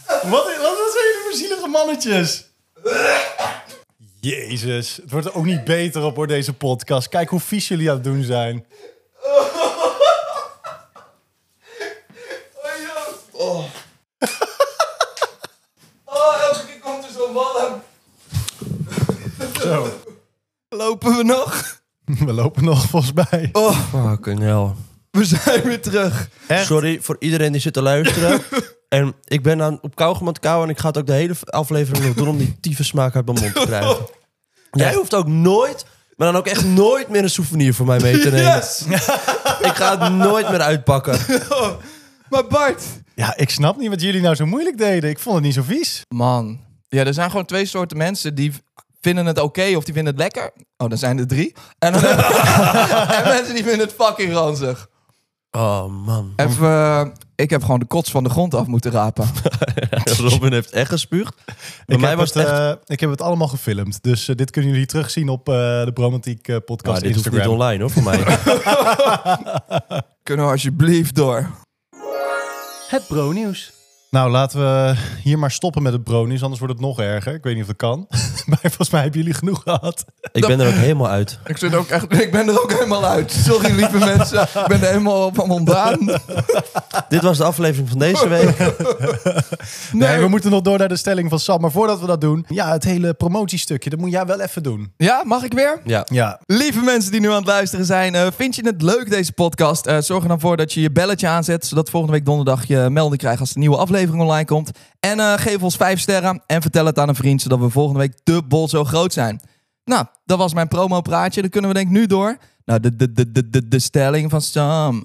Speaker 3: Wat, wat zijn jullie voor zielige mannetjes? Jezus, het wordt er ook niet beter op hoor, deze podcast. Kijk hoe vies jullie aan het doen zijn.
Speaker 1: Oh, elke keer komt er zo'n wallen.
Speaker 3: Zo,
Speaker 1: Lopen we nog?
Speaker 3: we lopen nog volgens mij.
Speaker 1: Oh,
Speaker 4: Fucking hell.
Speaker 1: we zijn weer terug.
Speaker 4: Sorry voor iedereen die zit te luisteren. en ik ben aan, op kauwgom aan het kauwen en ik ga het ook de hele aflevering nog doen om die tiefe smaak uit mijn mond te krijgen. Jij hoeft ook nooit, maar dan ook echt nooit meer een souvenir voor mij mee te nemen.
Speaker 1: Yes.
Speaker 4: Ik ga het nooit meer uitpakken.
Speaker 1: Maar Bart.
Speaker 3: Ja, ik snap niet wat jullie nou zo moeilijk deden. Ik vond het niet zo vies.
Speaker 1: Man. Ja, er zijn gewoon twee soorten mensen die v- vinden het oké of die vinden het lekker. Oh, dan zijn er drie. En, dan en mensen die vinden het fucking ranzig.
Speaker 4: Oh man.
Speaker 1: Even, eh, ik heb gewoon de kots van de grond af moeten rapen.
Speaker 4: Robin heeft echt gespuugd. Bij
Speaker 3: ik,
Speaker 4: mij
Speaker 3: heb
Speaker 4: was het
Speaker 3: het,
Speaker 4: echt...
Speaker 3: eh, ik heb het allemaal gefilmd. Dus eh, dit kunnen jullie terugzien op eh, de Bromantiek eh,
Speaker 4: Maar
Speaker 3: podcast
Speaker 4: Nou, dit hoeft niet
Speaker 3: Instagram.
Speaker 4: online hoor, voor mij.
Speaker 1: Kunnen we alsjeblieft door?
Speaker 4: het bro-nieuws.
Speaker 3: Nou, laten we hier maar stoppen met het bronies, anders wordt het nog erger. Ik weet niet of dat kan. maar volgens mij hebben jullie genoeg gehad.
Speaker 4: Ik ben er ook helemaal uit.
Speaker 1: Ik, zit ook echt, ik ben er ook helemaal uit. Sorry, lieve mensen. Ik ben er helemaal van ontdaan. Nee,
Speaker 4: Dit was de aflevering van deze week.
Speaker 3: Nee, we moeten nog door naar de stelling van Sam. Maar voordat we dat doen, ja, het hele promotiestukje, dat moet jij wel even doen.
Speaker 1: Ja, mag ik weer?
Speaker 4: Ja.
Speaker 3: Ja,
Speaker 1: Lieve mensen die nu aan het luisteren zijn, eh, vind je het leuk deze podcast? Eh, zorg er dan voor dat je je belletje aanzet, zodat volgende week donderdag je melding krijgt als de nieuwe aflevering online komt. En eh, geef ons vijf sterren en vertel het aan een vriend, zodat we volgende week dubbel zo groot zijn. Nou, dat was mijn promopraatje. Dan kunnen we denk ik nu door naar de, de, de, de, de, de stelling van Sam.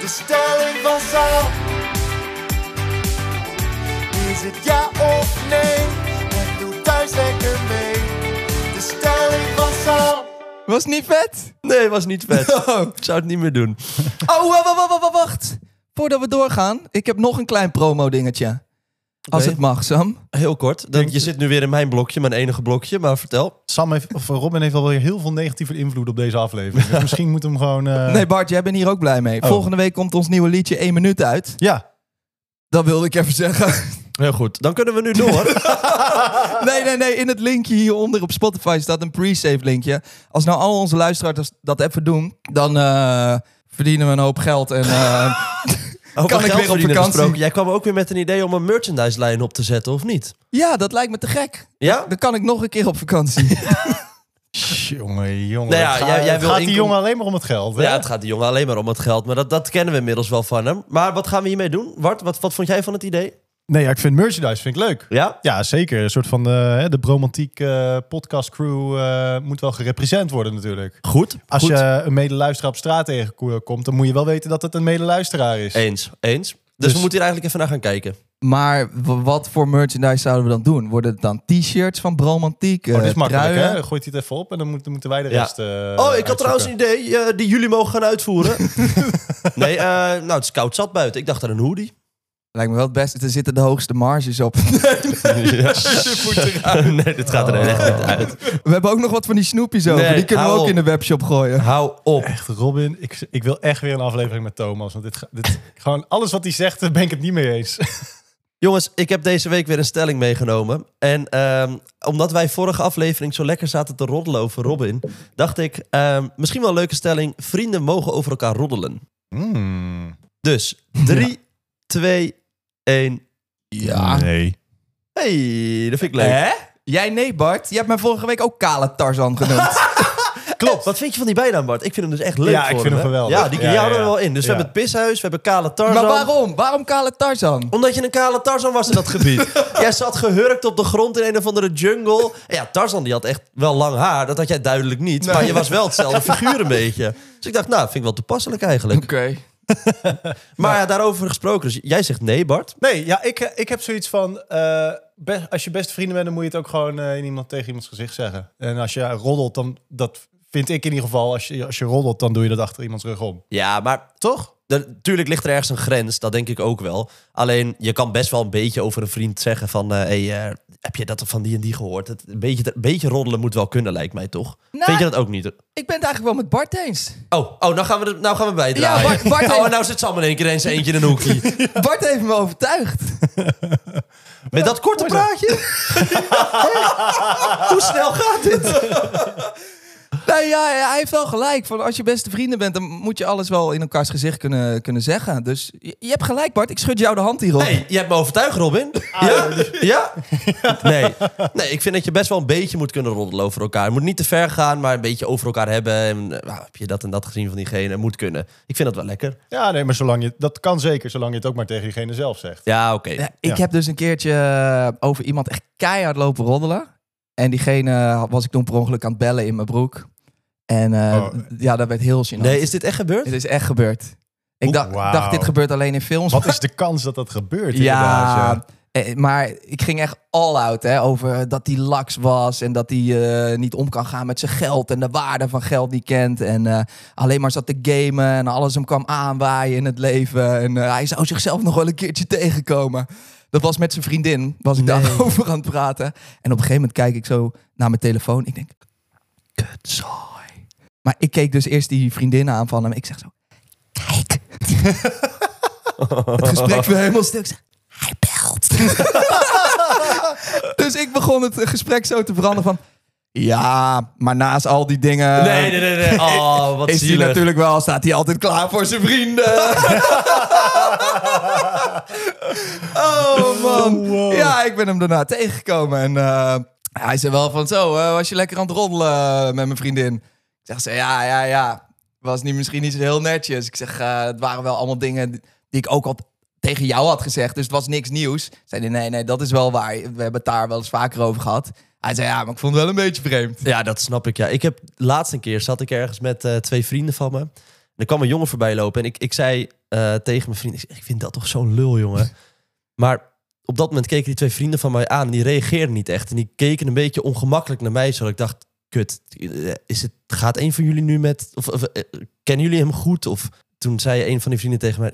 Speaker 2: De stelling van Sam. Is het ja of nee? En doe thuis lekker mee. De stelling van Sam.
Speaker 1: Was niet vet?
Speaker 4: Nee, was niet vet. Ik zou het niet meer doen.
Speaker 1: Oh, wa- wa- wa- wa- wa- wacht. Voordat we doorgaan, ik heb nog een klein promo dingetje. Als
Speaker 4: Oké.
Speaker 1: het mag, Sam.
Speaker 4: Heel kort. Dan, je zit nu weer in mijn blokje, mijn enige blokje. Maar vertel.
Speaker 3: Sam heeft, of eh, Robin heeft alweer heel veel negatieve invloed op deze aflevering. Dus misschien moet hem gewoon... eh,
Speaker 1: Nee, Bart, jij bent hier ook blij mee.
Speaker 3: Oh.
Speaker 1: Volgende week komt ons nieuwe liedje 1 minuut uit.
Speaker 3: Ja,
Speaker 1: Dat wilde ik even zeggen.
Speaker 4: Heel goed. Dan kunnen we nu door.
Speaker 1: Nee, nee, nee. In het linkje hieronder op Spotify staat een pre-save linkje. Als nou al onze luisteraars dat even doen, dan eh, verdienen we een hoop geld. En, eh,
Speaker 4: Over
Speaker 1: Kan ik
Speaker 4: geld
Speaker 1: weer op
Speaker 4: verdienen
Speaker 1: vakantie?
Speaker 4: gesproken. Jij kwam ook weer met een idee om een merchandise lijn op te zetten, of niet?
Speaker 1: ja, dat lijkt me te gek.
Speaker 4: Ja?
Speaker 1: Dan kan ik nog een keer op vakantie.
Speaker 3: jongen, jongen.
Speaker 4: Nou ja,
Speaker 3: Het gaat-
Speaker 4: jij- jij
Speaker 3: het
Speaker 4: wil
Speaker 3: gaat die
Speaker 4: inkom-
Speaker 3: jongen alleen maar om het geld, hè?
Speaker 4: Ja, het gaat die jongen alleen maar om het geld. Maar dat, dat kennen we inmiddels wel van hem. Maar wat gaan we hiermee doen? Wart, wat, wat vond jij van het idee?
Speaker 3: Nee, ja, ik vind merchandise vind ik leuk.
Speaker 4: Ja?
Speaker 3: Ja, zeker. Een soort van de, hè, de bromantiek eh, podcastcrew eh, moet wel gerepresent worden natuurlijk.
Speaker 4: Goed.
Speaker 3: Als
Speaker 4: goed.
Speaker 3: je een medeluisteraar op straat tegenkomt, dan moet je wel weten dat het een medeluisteraar is.
Speaker 4: Eens, eens. Dus,
Speaker 3: Dus-
Speaker 4: we moeten hier eigenlijk even naar gaan kijken.
Speaker 1: Maar w- wat voor merchandise zouden we dan doen? Worden het dan t-shirts van Bromantiek? eh,
Speaker 3: Oh, dat is makkelijk,
Speaker 1: truien?
Speaker 3: hè? Dan gooit hij het even op en dan, moet- dan moeten wij de
Speaker 4: eh, Ja.
Speaker 3: rest... eh,
Speaker 4: Oh, ik
Speaker 3: uitzoeken.
Speaker 4: had trouwens een idee eh, die jullie mogen gaan uitvoeren. nee, eh, nou, het is koud zat buiten. Ik dacht aan een hoodie.
Speaker 1: Lijkt me wel het beste. Er zitten de hoogste marges op.
Speaker 4: nee, dit gaat er echt niet uit.
Speaker 1: We hebben ook nog wat van die snoepjes over.
Speaker 4: Nee,
Speaker 1: die kunnen we
Speaker 4: hou
Speaker 1: ook
Speaker 4: op.
Speaker 1: in de webshop gooien.
Speaker 4: Hou op.
Speaker 3: Echt, Robin, ik, ik wil echt weer een aflevering met Thomas. Want dit, ga- dit, gewoon alles wat hij zegt, daar ben ik het niet mee eens.
Speaker 4: Jongens, ik heb deze week weer een stelling meegenomen. En ehm, omdat wij vorige aflevering zo lekker zaten te roddelen over Robin, dacht ik, ehm, misschien wel een leuke stelling. Vrienden mogen over elkaar roddelen. Dus 3, 2, 1.
Speaker 1: Ja.
Speaker 3: Nee.
Speaker 4: Hey, dat vind ik leuk.
Speaker 1: Hè? Jij nee, Bart. Je hebt mij vorige week ook kale Tarzan genoemd.
Speaker 4: Klopt. Wat vind je van die bijnaam, Bart? Ik vind hem dus echt leuk.
Speaker 3: Ja, ik
Speaker 4: voor
Speaker 3: vind hem geweldig.
Speaker 4: Ja, die, die
Speaker 3: Ja, ja,
Speaker 4: houden we
Speaker 3: ja.
Speaker 4: wel in. Dus
Speaker 3: Ja.
Speaker 4: we hebben het pishuis, we hebben kale Tarzan.
Speaker 1: maar waarom? Waarom kale Tarzan?
Speaker 4: Omdat je een kale Tarzan was in dat gebied. jij zat gehurkt op de grond in een of andere jungle. En ja, Tarzan die had echt wel lang haar. Dat had jij duidelijk niet. Maar je was wel hetzelfde figuur een beetje. Dus ik dacht, nou, vind ik wel toepasselijk eigenlijk. Maar ja, daarover gesproken. Dus jij zegt nee, Bart.
Speaker 3: Nee, ja, ik, eh, ik heb zoiets van... eh, be- als je best vrienden bent, dan moet je het ook gewoon eh, in iemand, tegen iemands gezicht zeggen. En als je roddelt, dan... Dat vind ik in ieder geval. Als je, als je roddelt, dan doe je dat achter iemands rug om.
Speaker 4: Ja, maar
Speaker 3: Toch?
Speaker 4: Natuurlijk ligt er ergens een grens, dat denk ik ook wel. Alleen, je kan best wel een beetje over een vriend zeggen van... eh, hey, eh, heb je dat van die en die gehoord? Het, een, beetje, een beetje roddelen moet wel kunnen, lijkt mij, toch?
Speaker 1: Nou-
Speaker 4: Vind je dat ook niet?
Speaker 1: Ik ben het eigenlijk wel met Bart eens.
Speaker 4: Oh, oh nou, gaan we, er- nou gaan we bijdragen.
Speaker 1: Ja, Bart- Bart heeft-
Speaker 4: Oh, en nou zit Sam in één keer eens eentje in een hoekje.
Speaker 1: Bart heeft me overtuigd.
Speaker 4: Met dat korte praatje? Hoe snel gaat dit?
Speaker 1: Nou ja, hij heeft wel gelijk. Van als je beste vrienden bent, dan moet je alles wel in elkaars gezicht kunnen, kunnen zeggen. Dus je, je hebt gelijk, Bart. Ik schud jou de hand hierop.
Speaker 4: Hey, je hebt me overtuigd, Robin.
Speaker 1: Ah,
Speaker 4: Ja? ja? Nee. nee, ik vind dat je best wel een beetje moet kunnen roddelen over elkaar. Het moet niet te ver gaan, maar een beetje over elkaar hebben. En, eh, nou, heb je dat en dat gezien van diegene? Het moet kunnen. Ik vind dat wel lekker.
Speaker 3: Ja, nee, maar zolang je... Dat kan zeker, zolang je het ook maar tegen diegene zelf zegt.
Speaker 4: Ja, oké.
Speaker 1: Ja, ik
Speaker 3: Ja.
Speaker 1: heb dus een keertje eh, over iemand echt keihard lopen roddelen. En diegene had- was ik toen per ongeluk aan het bellen in mijn broek. En eh,
Speaker 3: Oh.
Speaker 1: d- ja, dat werd heel gênant.
Speaker 4: Nee, is dit echt gebeurd?
Speaker 1: Het is echt gebeurd. Ik
Speaker 3: Oeh,
Speaker 1: dacht,
Speaker 3: wauw.
Speaker 1: dacht, dit gebeurt alleen in films.
Speaker 3: Wat is de kans dat dat gebeurt? inderdaad,
Speaker 1: ja, eh, maar ik ging echt all out hè, over dat hij laks was en dat hij eh, niet om kan gaan met zijn geld en de waarde van geld niet kent. En eh, alleen maar zat te gamen en alles hem kwam aanwaaien in het leven. En eh, hij zou zichzelf nog wel een keertje tegenkomen. Dat was met zijn vriendin, was ik daarover aan het praten. En op een gegeven moment kijk ik zo naar mijn telefoon. Ik denk, kutzooi. Maar ik keek dus eerst die vriendin aan van hem. Ik zeg zo, kijk. het gesprek weer helemaal stuk. Ik zeg, Hij belt. dus ik begon het gesprek zo te veranderen van... Ja, maar naast al die dingen...
Speaker 4: Nee, nee, nee. nee. Oh, wat
Speaker 1: is hij
Speaker 4: zielig.
Speaker 1: natuurlijk wel, staat hij altijd klaar voor zijn vrienden. oh man. Ja, ik ben hem daarna tegengekomen. En eh, hij zei wel van zo, eh, was je lekker aan het roddelen eh, met mijn vriendin? Ik zeg ze, ja, ja, ja. Was niet, misschien niet zo heel netjes. Ik zeg, eh, het waren wel allemaal dingen die ik ook al tegen jou had gezegd. Dus het was niks nieuws. Zei hij, nee, nee, dat is wel waar. We hebben het daar wel eens vaker over gehad. Hij zei, ja, maar ik vond het wel een beetje vreemd.
Speaker 4: Ja, dat snap ik. Ja. Ik heb laatst een keer zat ik ergens met eh, twee vrienden van me. En er kwam een jongen voorbij lopen. En ik, ik zei eh, tegen mijn vriend: ik, zeg, ik vind dat toch zo'n lul, jongen. maar op dat moment keken die twee vrienden van mij aan. En die reageerden niet echt. En die keken een beetje ongemakkelijk naar mij. Zodat ik dacht: Kut, eh, is het, gaat een van jullie nu met. Of, of, eh, kennen jullie hem goed? Of toen zei een van die vrienden tegen mij: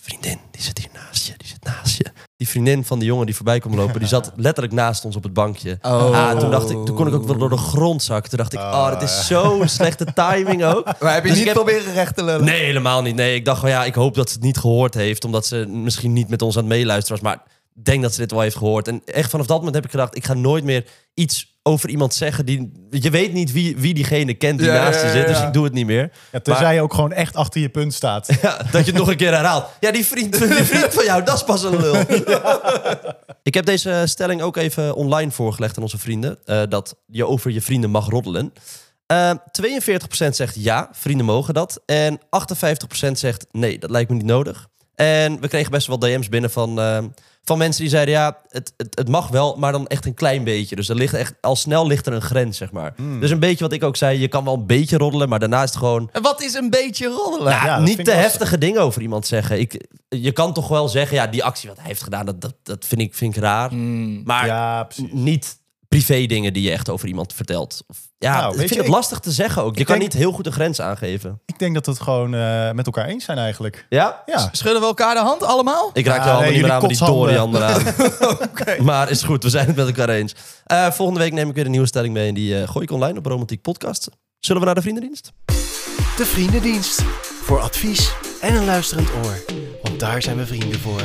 Speaker 4: Vriendin, die zit hier naast je. Die zit naast je. Die vriendin van de jongen die voorbij kwam lopen, die zat letterlijk naast ons op het bankje.
Speaker 1: Oh.
Speaker 4: Ah, toen dacht ik, toen kon ik ook wel door de grond zakken. Toen dacht ik,
Speaker 3: Ah,
Speaker 4: oh, dat
Speaker 3: ja.
Speaker 4: is zo'n slechte timing ook.
Speaker 1: Maar heb je
Speaker 4: Dus
Speaker 1: niet
Speaker 4: ik heb-
Speaker 1: proberen recht te lullen?
Speaker 4: Nee, helemaal niet. Nee, ik dacht gewoon, ja, ik hoop dat ze het niet gehoord heeft. Omdat ze misschien niet met ons aan het meeluisteren was. Maar ik denk dat ze dit wel heeft gehoord. En echt vanaf dat moment heb ik gedacht, ik ga nooit meer iets over iemand zeggen. Die, je weet niet wie, wie diegene kent die
Speaker 1: Ja, ja,
Speaker 4: naast je
Speaker 1: ja,
Speaker 4: zit. Dus
Speaker 1: ja.
Speaker 4: ik doe het niet meer.
Speaker 3: Ja, tenzij je ook gewoon echt achter je punt staat.
Speaker 4: Ja, dat je het nog een keer herhaalt. Ja, die vriend, die vriend van jou, dat is pas een lul. Ik heb deze stelling ook even online voorgelegd aan onze vrienden. eh, dat je over je vrienden mag roddelen. Eh, 42% zegt ja, vrienden mogen dat. En 58% zegt nee, dat lijkt me niet nodig. En we kregen best wel DM's binnen van, eh, van mensen die zeiden... ja, het, het, het mag wel, maar dan echt een klein beetje. Dus er ligt echt, al snel ligt er een grens, zeg maar. Dus een beetje wat ik ook zei, je kan wel een beetje roddelen... maar daarna is het gewoon
Speaker 1: En Wat is een beetje roddelen?
Speaker 3: Ja, dat vind
Speaker 4: niet
Speaker 3: ik
Speaker 4: te
Speaker 3: lastig.
Speaker 4: heftige dingen over iemand zeggen. Ik, je kan toch wel zeggen, ja, die actie wat hij heeft gedaan, dat, dat, dat vind, ik, vind ik raar. Maar
Speaker 3: Ja, precies.
Speaker 4: niet privé dingen die je echt over iemand vertelt. Of, ja,
Speaker 3: Nou,
Speaker 4: ik
Speaker 3: weet
Speaker 4: vind
Speaker 3: je,
Speaker 4: het
Speaker 3: ik-
Speaker 4: lastig te zeggen ook. Je kan
Speaker 3: denk-
Speaker 4: niet heel goed een grens aangeven.
Speaker 3: Ik denk dat we het gewoon eh, met elkaar eens zijn eigenlijk.
Speaker 4: Ja?
Speaker 3: Ja.
Speaker 1: Schudden we elkaar de hand allemaal?
Speaker 4: Ik raak
Speaker 3: Ja,
Speaker 4: er allemaal
Speaker 3: nee,
Speaker 4: niet meer
Speaker 3: jullie
Speaker 4: aan met die
Speaker 3: kotshanden.
Speaker 4: Dorian eraan. Maar is goed, we zijn het met elkaar eens. Eh, volgende week neem ik weer een nieuwe stelling mee en die eh, gooi ik online op Romantiek Podcast. Zullen we naar de vriendendienst?
Speaker 2: De Vriendendienst. Voor advies en een luisterend oor. Want daar zijn we vrienden voor.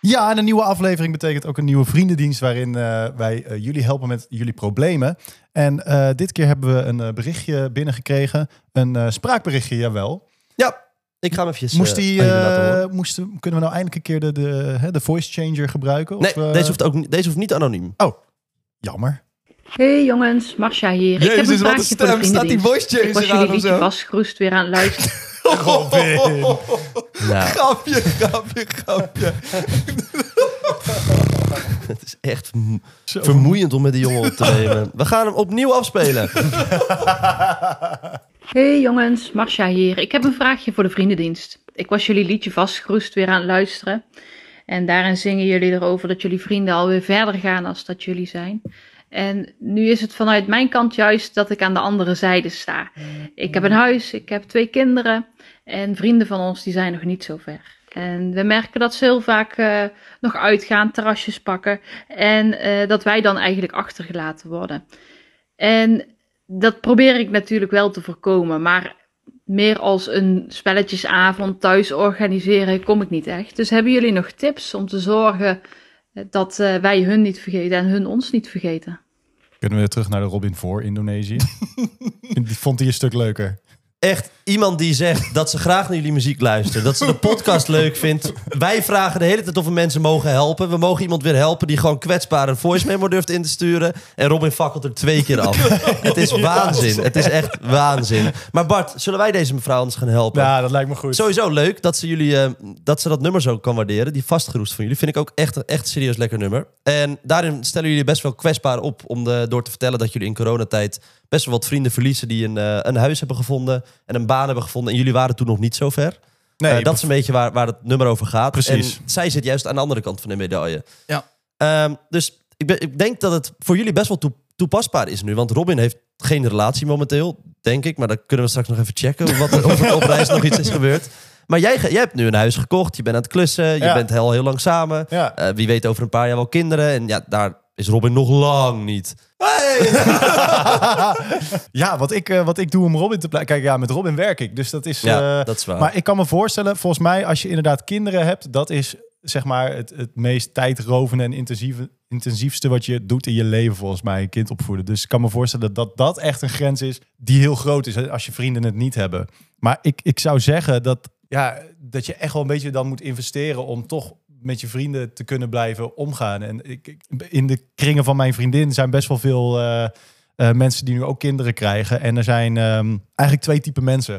Speaker 3: Ja, en een nieuwe aflevering betekent ook een nieuwe vriendendienst waarin eh, wij eh, jullie helpen met jullie problemen. En eh, dit keer hebben we een eh, berichtje binnengekregen. Een eh, spraakberichtje, jawel.
Speaker 4: Ja, ik ga hem even
Speaker 3: Moest die, eh, moesten, kunnen we nou eindelijk een keer de, de, hè, de voice changer gebruiken?
Speaker 4: Nee,
Speaker 3: Of, eh,
Speaker 4: deze hoeft, ook, niet- deze hoeft niet anoniem.
Speaker 3: Jammer.
Speaker 5: Hey jongens, Marcia hier. ik heb
Speaker 1: Jezus,
Speaker 5: een
Speaker 1: wat een
Speaker 5: vraagje voor de
Speaker 1: stem. Staat die
Speaker 5: vriendendienst.
Speaker 1: voice
Speaker 5: Ik was
Speaker 1: changer
Speaker 5: jullie
Speaker 1: aan of
Speaker 5: liedje
Speaker 1: zo?
Speaker 5: vast gerust weer aan het luisteren.
Speaker 3: Robin.
Speaker 4: Nou,
Speaker 1: Oh, Grapje, grapje, grapje.
Speaker 4: het is echt m- vermoeiend om met die jongen op te nemen. We gaan hem opnieuw afspelen.
Speaker 5: Hey jongens, Marcia hier. Ik heb een vraagje voor de vriendendienst. Ik was jullie liedje vast gerust weer aan het luisteren. En daarin zingen jullie erover dat jullie vrienden alweer verder gaan als dat jullie zijn. En nu is het vanuit mijn kant juist dat ik aan de andere zijde sta. Ik heb een huis, ik heb twee kinderen en vrienden van ons die zijn nog niet zo ver. En we merken dat ze heel vaak eh, nog uitgaan, terrasjes pakken en eh, dat wij dan eigenlijk achtergelaten worden. En dat probeer ik natuurlijk wel te voorkomen, maar meer als een spelletjesavond thuis organiseren kom ik niet echt. Dus hebben jullie nog tips om te zorgen eh, dat eh, wij hun niet vergeten en hun ons niet vergeten?
Speaker 3: Kunnen we terug naar de Robin voor Indonesië? die vond hij een stuk leuker.
Speaker 4: Echt iemand die zegt dat ze graag naar jullie muziek luistert. Dat ze de podcast leuk vindt. Wij vragen de hele tijd of we mensen mogen helpen. We mogen iemand weer helpen die gewoon kwetsbaar een voice memo durft in te sturen. En Robin fakkelt er twee keer af. Het is waanzin. Het is echt waanzin. Maar Bart, zullen wij deze mevrouw anders gaan helpen?
Speaker 3: Ja, dat lijkt me goed.
Speaker 4: Sowieso leuk dat ze, jullie, eh, dat ze dat nummer zo kan waarderen. Die vastgeroest van jullie vind ik ook echt, een- echt een serieus lekker nummer. En daarin stellen jullie best wel kwetsbaar op om de, door te vertellen dat jullie in coronatijd best wel wat vrienden verliezen die een, eh, een huis hebben gevonden en een baan hebben gevonden. En jullie waren toen nog niet zo ver.
Speaker 3: Nee,
Speaker 4: Eh, dat is een beetje waar, waar het nummer over gaat.
Speaker 3: Precies.
Speaker 4: En zij zit juist aan de andere kant van de medaille.
Speaker 1: Ja.
Speaker 4: Ehm, dus ik, ben, ik denk dat het voor jullie best wel toe- toepasbaar is nu. Want Robin heeft geen relatie momenteel, denk ik. Maar dat kunnen we straks nog even checken. Wat er over op reis nog iets is gebeurd. Maar jij, ge- jij hebt nu een huis gekocht. Je bent aan het klussen. Je
Speaker 3: Ja.
Speaker 4: bent al heel lang samen.
Speaker 3: Ja.
Speaker 4: Eh, wie weet over een paar jaar wel kinderen. En ja, daar is Robin nog lang niet.
Speaker 3: Ja, wat ik, eh, wat ik doe om Robin te blijven. Kijk, ja, met Robin werk ik. Dus dat is.
Speaker 4: Ja,
Speaker 3: eh,
Speaker 4: dat is waar.
Speaker 3: Maar ik kan me voorstellen, volgens mij, als je inderdaad kinderen hebt, dat is zeg maar, het, het meest tijdrovende en intensieve, intensiefste wat je doet in je leven, volgens mij, een kind opvoeden. Dus ik kan me voorstellen dat dat, dat echt een grens is die heel groot is hè, als je vrienden het niet hebben. Maar ik, ik zou zeggen dat, ja, dat je echt wel een beetje dan moet investeren om toch met je vrienden te kunnen blijven omgaan. En ik, ik- in de kringen van mijn vriendin zijn best wel veel eh, eh, mensen die nu ook kinderen krijgen. En er zijn ehm, eigenlijk twee typen mensen.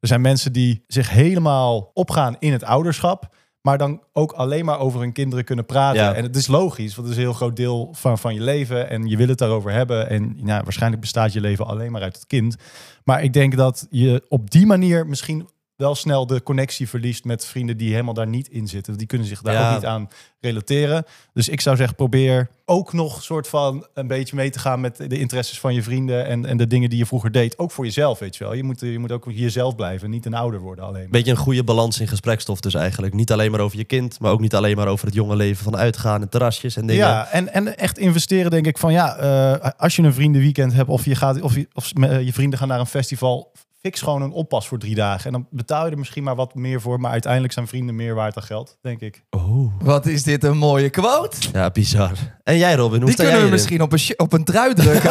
Speaker 3: Er zijn mensen die zich helemaal opgaan in het ouderschap. Maar dan ook alleen maar over hun kinderen kunnen praten.
Speaker 4: Ja.
Speaker 3: En het is logisch, want het is een heel groot deel van, van je leven. En je wil het daarover hebben. En nou, waarschijnlijk bestaat je leven alleen maar uit het kind. Maar ik denk dat je op die manier misschien wel snel de connectie verliest met vrienden die helemaal daar niet in zitten. Die kunnen zich daar
Speaker 4: Ja.
Speaker 3: ook niet aan relateren. Dus ik zou zeggen, probeer ook nog soort van een beetje mee te gaan met de interesses van je vrienden en, en de dingen die je vroeger deed. Ook voor jezelf, weet je wel. Je moet, eh, je moet ook jezelf blijven, niet een ouder worden alleen.
Speaker 4: Beetje een goede balans in gesprekstof dus eigenlijk. Niet alleen maar over je kind, maar ook niet alleen maar over het jonge leven van uitgaan en terrasjes en dingen.
Speaker 3: Ja, en, en echt investeren denk ik van ja, eh, als je een vriendenweekend hebt of je, gaat, of je, of eh, je vrienden gaan naar een festival, fix gewoon een oppas voor drie dagen. En dan betaal je er misschien maar wat meer voor, maar uiteindelijk zijn vrienden meer waard dan geld, denk ik.
Speaker 4: Oh.
Speaker 1: Wat is dit een mooie quote?
Speaker 4: Ja, bizar. En jij Robin, hoe
Speaker 1: Die
Speaker 4: sta
Speaker 1: kunnen we
Speaker 4: jij
Speaker 1: misschien op een, sh- op een trui drukken.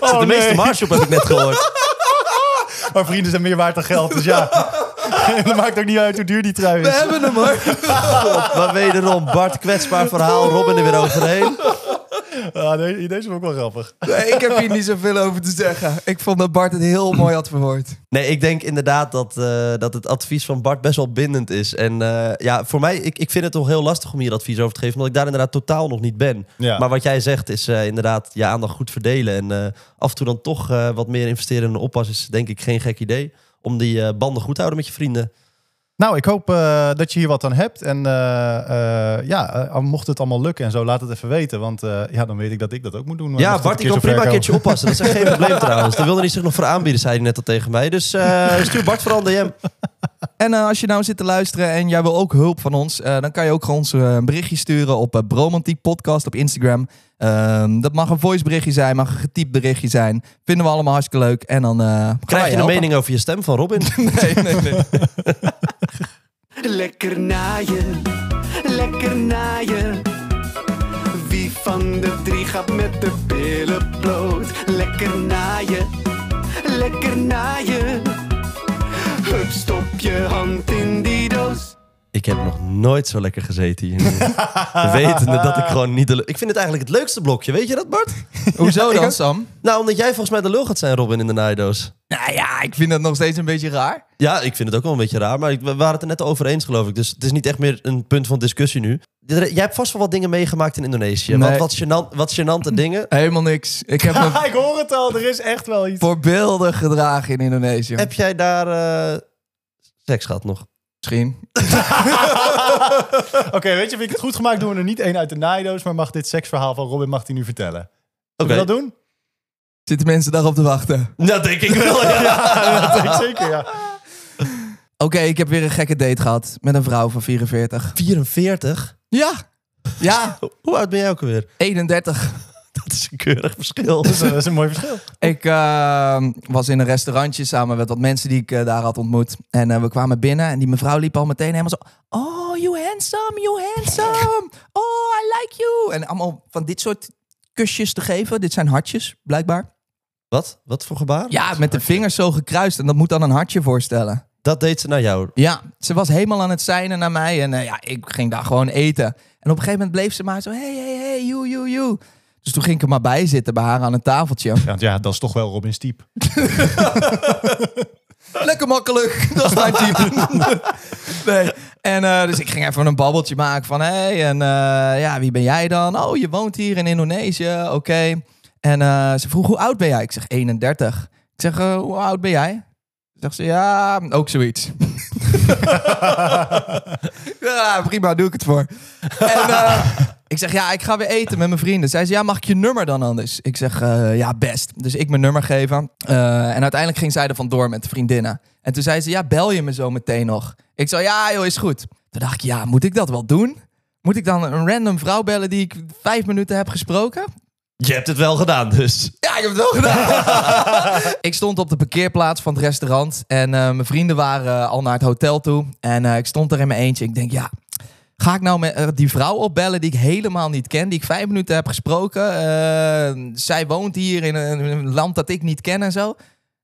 Speaker 4: Oh, de meeste marge op heb ik net gehoord.
Speaker 3: Maar vrienden zijn meer waard dan geld, dus ja. dat maakt ook niet uit hoe duur die trui
Speaker 1: we
Speaker 3: is.
Speaker 1: hebben hem hoor.
Speaker 4: God, maar wederom, Bart kwetsbaar verhaal, Robin er weer overheen.
Speaker 3: Ah, nee, deze vond ik wel grappig.
Speaker 1: Nee, ik heb hier niet zoveel over te zeggen. Ik vond dat Bart het heel mooi had verwoord.
Speaker 4: Nee, ik denk inderdaad dat, eh, dat het advies van Bart best wel bindend is. En eh, ja, voor mij, ik, ik vind het toch heel lastig om hier advies over te geven, omdat ik daar inderdaad totaal nog niet ben.
Speaker 3: Ja.
Speaker 4: Maar wat jij zegt is eh, inderdaad je aandacht goed verdelen. En eh, af en toe dan toch eh, wat meer investeren in een oppas is denk ik geen gek idee. Om die eh, banden goed te houden met je vrienden.
Speaker 3: Nou, ik hoop eh, dat je hier wat aan hebt. En eh, eh, ja, eh, mocht het allemaal lukken en zo, laat het even weten. Want eh, ja, dan weet ik dat ik dat ook moet doen.
Speaker 4: ja,
Speaker 3: Mocht het
Speaker 4: Bart,
Speaker 3: een
Speaker 4: ik kan
Speaker 3: keer
Speaker 4: prima
Speaker 3: zover
Speaker 4: een keertje
Speaker 3: komen.
Speaker 4: oppassen. Dat is echt geen probleem trouwens. Daar wilde hij zich nog voor aanbieden, zei hij net al tegen mij. Dus eh, stuur Bart vooral een DM.
Speaker 1: En eh, als je nou zit te luisteren en jij wil ook hulp van ons, eh, dan kan je ook gewoon ons eh, een berichtje sturen op eh, Bromantiek Podcast op Instagram. Ehm, dat mag een voice berichtje zijn, mag een getypt berichtje zijn. Vinden we allemaal hartstikke leuk. En dan eh, gaan wij
Speaker 4: Krijg je een
Speaker 1: helpen.
Speaker 4: mening over je stem van Robin?
Speaker 1: Nee, nee, nee.
Speaker 2: Lekker naaien, lekker naaien. Wie van de drie gaat met de billen bloot? Lekker naaien, lekker naaien. Hup, stop je hand in die doos.
Speaker 4: Ik heb nog nooit zo lekker gezeten hier. Wetende dat ik gewoon niet de... lul- Ik vind het eigenlijk het leukste blokje, weet je dat Bart?
Speaker 1: Hoezo
Speaker 4: ik
Speaker 1: dan,
Speaker 4: ook.
Speaker 1: Sam?
Speaker 4: Nou, omdat jij volgens mij de lul gaat zijn Robin in de naaidoos.
Speaker 1: Nou ja, ik vind dat nog steeds een beetje raar.
Speaker 4: Ja, ik vind het ook wel een beetje raar, maar ik- we waren het er net over eens geloof ik. Dus het is niet echt meer een punt van discussie nu. Jij hebt vast wel wat dingen meegemaakt in Indonesië.
Speaker 1: Nee.
Speaker 4: Wat, wat, gênant, wat gênante dingen.
Speaker 1: Helemaal niks. Ik heb me
Speaker 3: Haha, ik hoor het al, er is echt wel iets.
Speaker 1: voorbeeldig gedragen in Indonesië.
Speaker 4: Heb jij daar eh, seks gehad nog?
Speaker 1: Misschien.
Speaker 3: Oké, weet je, vind ik het goed gemaakt, doen we er niet één uit de naaidoos. Maar mag dit seksverhaal van Robin, mag hij nu vertellen?
Speaker 4: Oké.
Speaker 3: Zullen we dat doen?
Speaker 1: Zitten mensen daarop te wachten?
Speaker 4: Dat denk ik wel, ja.
Speaker 3: Ja, dat denk ik zeker, ja.
Speaker 1: Oké, ik heb weer een gekke date gehad met een vrouw van 44.
Speaker 4: 44?
Speaker 1: Ja. Ja,
Speaker 4: Hoe oud ben jij ook alweer?
Speaker 1: 31.
Speaker 4: Dat is een keurig verschil.
Speaker 3: Dat is, eh, dat is een mooi verschil.
Speaker 1: Ik eh, was in een restaurantje samen met wat mensen die ik eh, daar had ontmoet. En eh, we kwamen binnen en die mevrouw liep al meteen helemaal zo... Oh, you handsome, you handsome. Oh, I like you. En allemaal van dit soort kusjes te geven. Dit zijn hartjes, blijkbaar.
Speaker 4: Wat? Wat voor gebaar?
Speaker 1: Ja, met de vingers zo gekruist. En dat moet dan een hartje voorstellen.
Speaker 4: Dat deed ze naar jou.
Speaker 1: Ja, ze was helemaal aan het zijnen naar mij. En eh, ja, ik ging daar gewoon eten. En op een gegeven moment bleef ze maar zo... Hey, hey, hey, you, you, you. Dus toen ging ik er maar bij zitten bij haar aan een tafeltje.
Speaker 3: Ja, want ja, dat is toch wel Robin's type.
Speaker 1: Lekker makkelijk. Dat is mijn type. nee. En eh, dus ik ging even een babbeltje maken van... hey, en eh, ja, wie ben jij dan? Oh, je woont hier in Indonesië. Oké. En eh, ze vroeg, hoe oud ben jij? Ik zeg, 31. Ik zeg, eh, hoe oud ben jij? Zegt ze, ja, ook zoiets. ja, prima, doe ik het voor. En eh, ik zeg, ja, ik ga weer eten met mijn vrienden. Zij zei, ja, mag ik je nummer dan anders? Ik zeg, eh, ja, best. Dus ik mijn nummer geven. Eh, en uiteindelijk ging zij er vandoor met vriendinnen. En toen zei ze, ja, bel je me zo meteen nog? Ik zei, ja, joh, is goed. Toen dacht ik, ja, moet ik dat wel doen? Moet ik dan een random vrouw bellen die ik vijf minuten heb gesproken?
Speaker 4: Je hebt het wel gedaan, dus.
Speaker 1: Ja, ik heb het wel gedaan. ik stond op de parkeerplaats van het restaurant. En eh, mijn vrienden waren eh, al naar het hotel toe. En eh, ik stond er in mijn eentje. Ik denk, ja, Ga ik nou met, eh, die vrouw opbellen die ik helemaal niet ken, die ik vijf minuten heb gesproken? Eh, zij woont hier in een, in een land dat ik niet ken en zo.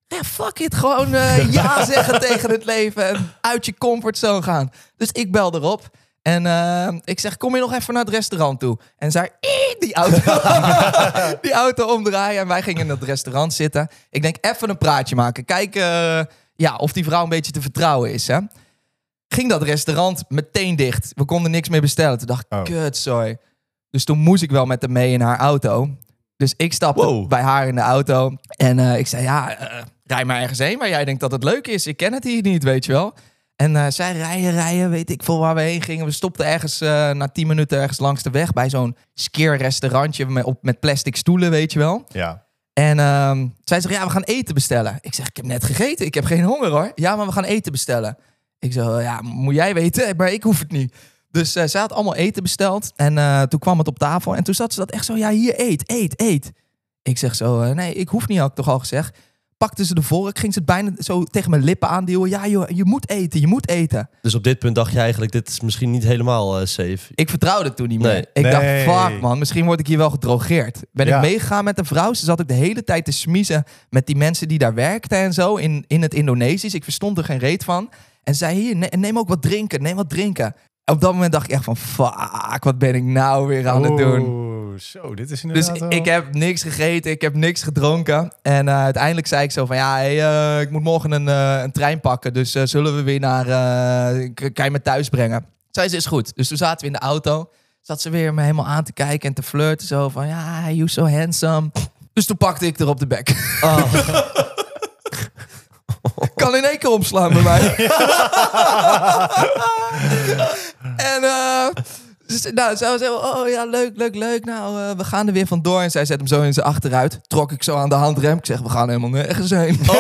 Speaker 1: Ja, fuck it. Gewoon eh, ja zeggen tegen het leven en uit je comfortzone gaan. Dus ik bel erop en eh, ik zeg, kom je nog even naar het restaurant toe? En zij, "Ee," die auto, die auto omdraaien en wij gingen in het restaurant zitten. Ik denk, even een praatje maken. Kijken eh, ja, of die vrouw een beetje te vertrouwen is, hè ging dat restaurant meteen dicht. We konden niks meer bestellen. Toen dacht ik,
Speaker 3: Oh.
Speaker 1: kut, sorry. Dus toen moest ik wel met haar mee in haar auto. Dus ik stapte
Speaker 4: Wow.
Speaker 1: bij haar in de auto. En eh, ik zei, ja, eh, rij maar ergens heen waar jij denkt dat het leuk is. Ik ken het hier niet, weet je wel. En eh, zij rijden, rijden, weet ik veel waar we heen gingen. We stopten ergens eh, na tien minuten ergens langs de weg... bij zo'n skeerrestaurantje met, op- met plastic stoelen, weet je wel.
Speaker 3: Ja.
Speaker 1: En ehm, zij zegt, ja, we gaan eten bestellen. Ik zeg, ik heb net gegeten, ik heb geen honger hoor. Ja, maar we gaan eten bestellen. Ik zeg, ja, moet jij weten, maar ik hoef het niet. Dus eh, zij had allemaal eten besteld en eh, toen kwam het op tafel. En toen zat ze dat echt zo, ja, hier, eet, eet, eet. Ik zeg zo, eh, nee, ik hoef niet, had ik toch al gezegd. Pakte ze de vork, ging ze het bijna zo tegen mijn lippen aanduwen. Ja, joh, je moet eten, je moet eten.
Speaker 4: Dus op dit punt dacht je eigenlijk, dit is misschien niet helemaal eh, safe.
Speaker 1: Ik vertrouwde het toen niet meer.
Speaker 4: Nee.
Speaker 1: Ik
Speaker 3: Nee.
Speaker 1: dacht, fuck man, misschien word ik hier wel gedrogeerd. Ben
Speaker 3: Ja.
Speaker 1: ik meegegaan met een vrouw. Ze zat ook de hele tijd te smiezen met die mensen die daar werkten en zo. In, in het Indonesisch. Ik verstond er geen reet van. En zei, hier, ne- neem ook wat drinken. Neem wat drinken. Op dat moment dacht ik echt van, fuck, wat ben ik nou weer aan het doen?
Speaker 3: Oeh, zo, dit is
Speaker 1: Dus
Speaker 3: inderdaad wel-
Speaker 1: ik heb niks gegeten, ik heb niks gedronken. En eh, uiteindelijk zei ik zo van, ja, hey, eh, ik moet morgen een, eh, een trein pakken. Dus eh, zullen we weer naar, eh, k- kan je me thuis brengen? Zei ze, is goed. Dus toen zaten we in de auto. Zat ze weer me helemaal aan te kijken en te flirten. Zo van, ja, you so handsome. Dus toen pakte ik er op de bek.
Speaker 3: Oh.
Speaker 1: kan in één keer omslaan bij mij. en eh, dus, nou, zij was helemaal, oh ja, leuk, leuk, leuk. Nou, eh, we gaan er weer vandoor. En zij zet hem zo in zijn achteruit. Trok ik zo aan de handrem. Ik zeg, we gaan helemaal nergens heen.
Speaker 4: Ah!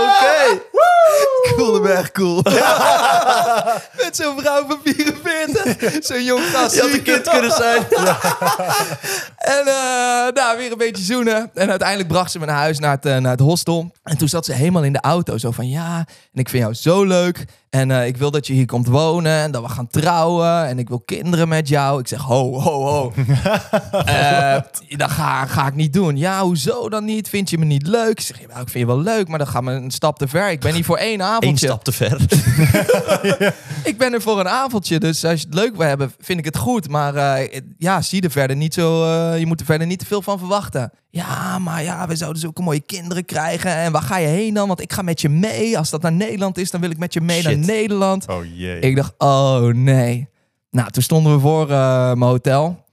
Speaker 4: Oké.
Speaker 1: Ik voelde me echt cool. Met zo'n vrouw van 44. Zo'n jong gast.
Speaker 4: Je had een kind kunnen zijn.
Speaker 1: En eh, nou, weer een beetje zoenen. En uiteindelijk bracht ze me naar huis, naar het, eh, naar het hostel. En toen zat ze helemaal in de auto. Zo van, ja, en ik vind jou zo leuk. En eh, ik wil dat je hier komt wonen. En dat we gaan trouwen. En ik wil kinderen met jou. Ik zeg, ho, ho, ho. Eh, dat ga, ga ik niet doen. Ja, hoezo dan niet? Vind je me niet leuk? Ik zeg, ja, ik vind je wel leuk, maar dan gaan we een stap te ver. Ik ben hier voor één
Speaker 4: Eén
Speaker 1: avondje.
Speaker 4: stap te ver.
Speaker 1: Ik ben er voor een avondje, dus als je het leuk wil hebben, vind ik het goed. Maar eh, ja, zie er verder niet zo. eh, je moet er verder niet te veel van verwachten. Ja, maar ja, we zouden zulke mooie kinderen krijgen. En waar ga je heen dan? Want ik ga met je mee. Als dat naar Nederland is, dan wil ik met je mee
Speaker 4: Shit.
Speaker 1: naar Nederland.
Speaker 3: Oh jee.
Speaker 1: Ik dacht, oh nee. Nou, toen stonden we voor eh, mijn hotel.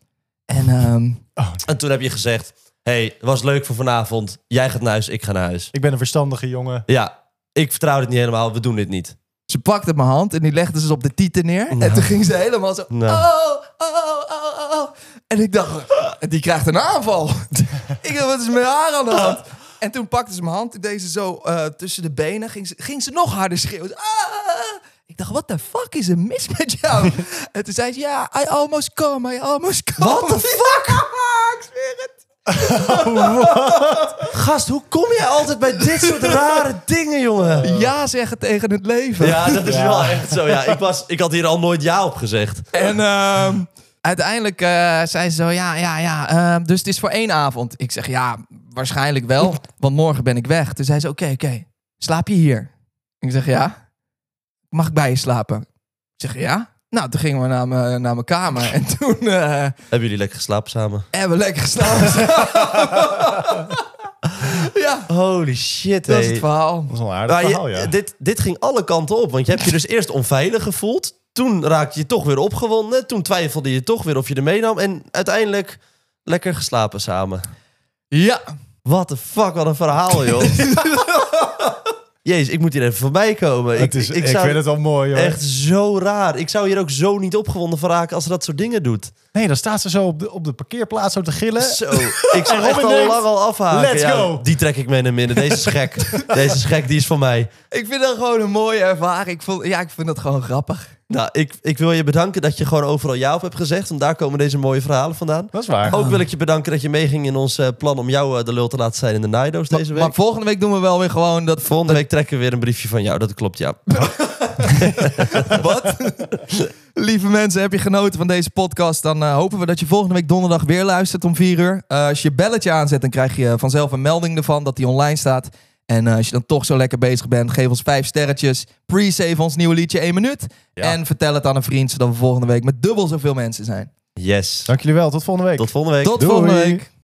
Speaker 1: En ehm,
Speaker 4: En toen heb je gezegd, hey, het was leuk voor vanavond. Jij gaat naar huis, ik ga naar huis.
Speaker 3: Ik ben een verstandige jongen.
Speaker 4: Ja, ik vertrouw dit niet helemaal. We doen dit niet.
Speaker 1: ze pakte mijn hand en die legde ze dus op de tieten neer. En toen ging ze helemaal zo.
Speaker 4: Nou.
Speaker 1: Oh, oh, oh, oh. En ik dacht, die krijgt een aanval. ik dacht, wat is met haar aan de hand? En toen pakte ze mijn hand, toen deed ze zo eh, tussen de benen. Ging ze, ging ze nog harder schreeuwen. Ah! Ik dacht, what the fuck is er mis met jou? en toen zei ze, ja, I almost come, I almost come. What the fuck? ik zweer het.
Speaker 4: Gast, hoe kom jij altijd bij dit soort rare dingen, jongen?
Speaker 1: Ja zeggen tegen het leven.
Speaker 4: Ja, dat is wel echt zo. Ja, ik, was, ik had hier al nooit ja op gezegd.
Speaker 1: En ehm, uiteindelijk eh, zei ze zo, ja, ja, ja, ehm, dus het is voor één avond. Ik zeg, ja, waarschijnlijk wel, want morgen ben ik weg. Toen zei ze, oké, oké, slaap je hier? Ik zeg, ja. Mag ik bij je slapen? Ik zeg, ja. Nou, toen gingen we naar mijn naar mijn kamer en toen eh,
Speaker 4: Hebben jullie lekker geslapen samen?
Speaker 1: hebben we lekker geslapen. ja,
Speaker 4: Holy shit,
Speaker 1: dat is het verhaal.
Speaker 3: Dat is wel een aardig
Speaker 4: Maar je-
Speaker 3: verhaal, ja.
Speaker 4: dit, dit ging alle kanten op. Want je hebt je dus eerst onveilig gevoeld. Toen raakte je toch weer opgewonden. Toen twijfelde je toch weer of je er meenam. En uiteindelijk lekker geslapen samen.
Speaker 1: Ja,
Speaker 4: What the fuck, wat een verhaal, joh. Jezus, ik moet hier even voorbij komen.
Speaker 3: het is, ik, vind het wel mooi, hoor.
Speaker 4: echt zo raar. Ik zou hier ook zo niet opgewonden van raken als ze dat soort dingen doet.
Speaker 3: Nee, dan staat ze zo op de, op de parkeerplaats zo te gillen.
Speaker 4: Zo, ik zou
Speaker 3: Robin
Speaker 4: echt al
Speaker 3: denkt,
Speaker 4: lang al afhaken.
Speaker 3: let's
Speaker 4: Ja,
Speaker 3: go.
Speaker 4: Die trek ik mee naar binnen. Deze is gek. Deze is gek, die is van mij.
Speaker 1: ik vind dat gewoon een mooie ervaring. Ik vond, ja, ik vind dat gewoon grappig.
Speaker 4: Nou, ik, ik wil je bedanken dat je gewoon overal ja op hebt gezegd. Want daar komen deze mooie verhalen vandaan.
Speaker 3: Dat is waar.
Speaker 4: Ook wil ik je bedanken dat je meeging in ons eh, plan om jou eh, de lul te laten zijn in de Nido's deze
Speaker 1: Maar-
Speaker 4: week.
Speaker 1: Maar volgende week doen we wel weer gewoon dat
Speaker 4: Volgende week trekken we weer een briefje van jou, dat klopt, ja.
Speaker 1: Wat? Lieve mensen, heb je genoten van deze podcast? Dan eh, hopen we dat je volgende week donderdag weer luistert om 4 uur. Eh, als je je belletje aanzet, dan krijg je vanzelf een melding ervan dat die online staat. En eh, als je dan toch zo lekker bezig bent, geef ons 5 sterretjes. Pre-save ons nieuwe liedje 1 minuut.
Speaker 4: Ja.
Speaker 1: En vertel het aan een vriend, zodat we volgende week met dubbel zoveel mensen zijn.
Speaker 4: Yes.
Speaker 3: Dank jullie wel. Tot volgende week.
Speaker 4: Tot volgende week.
Speaker 1: Tot
Speaker 3: Doei.
Speaker 1: volgende week.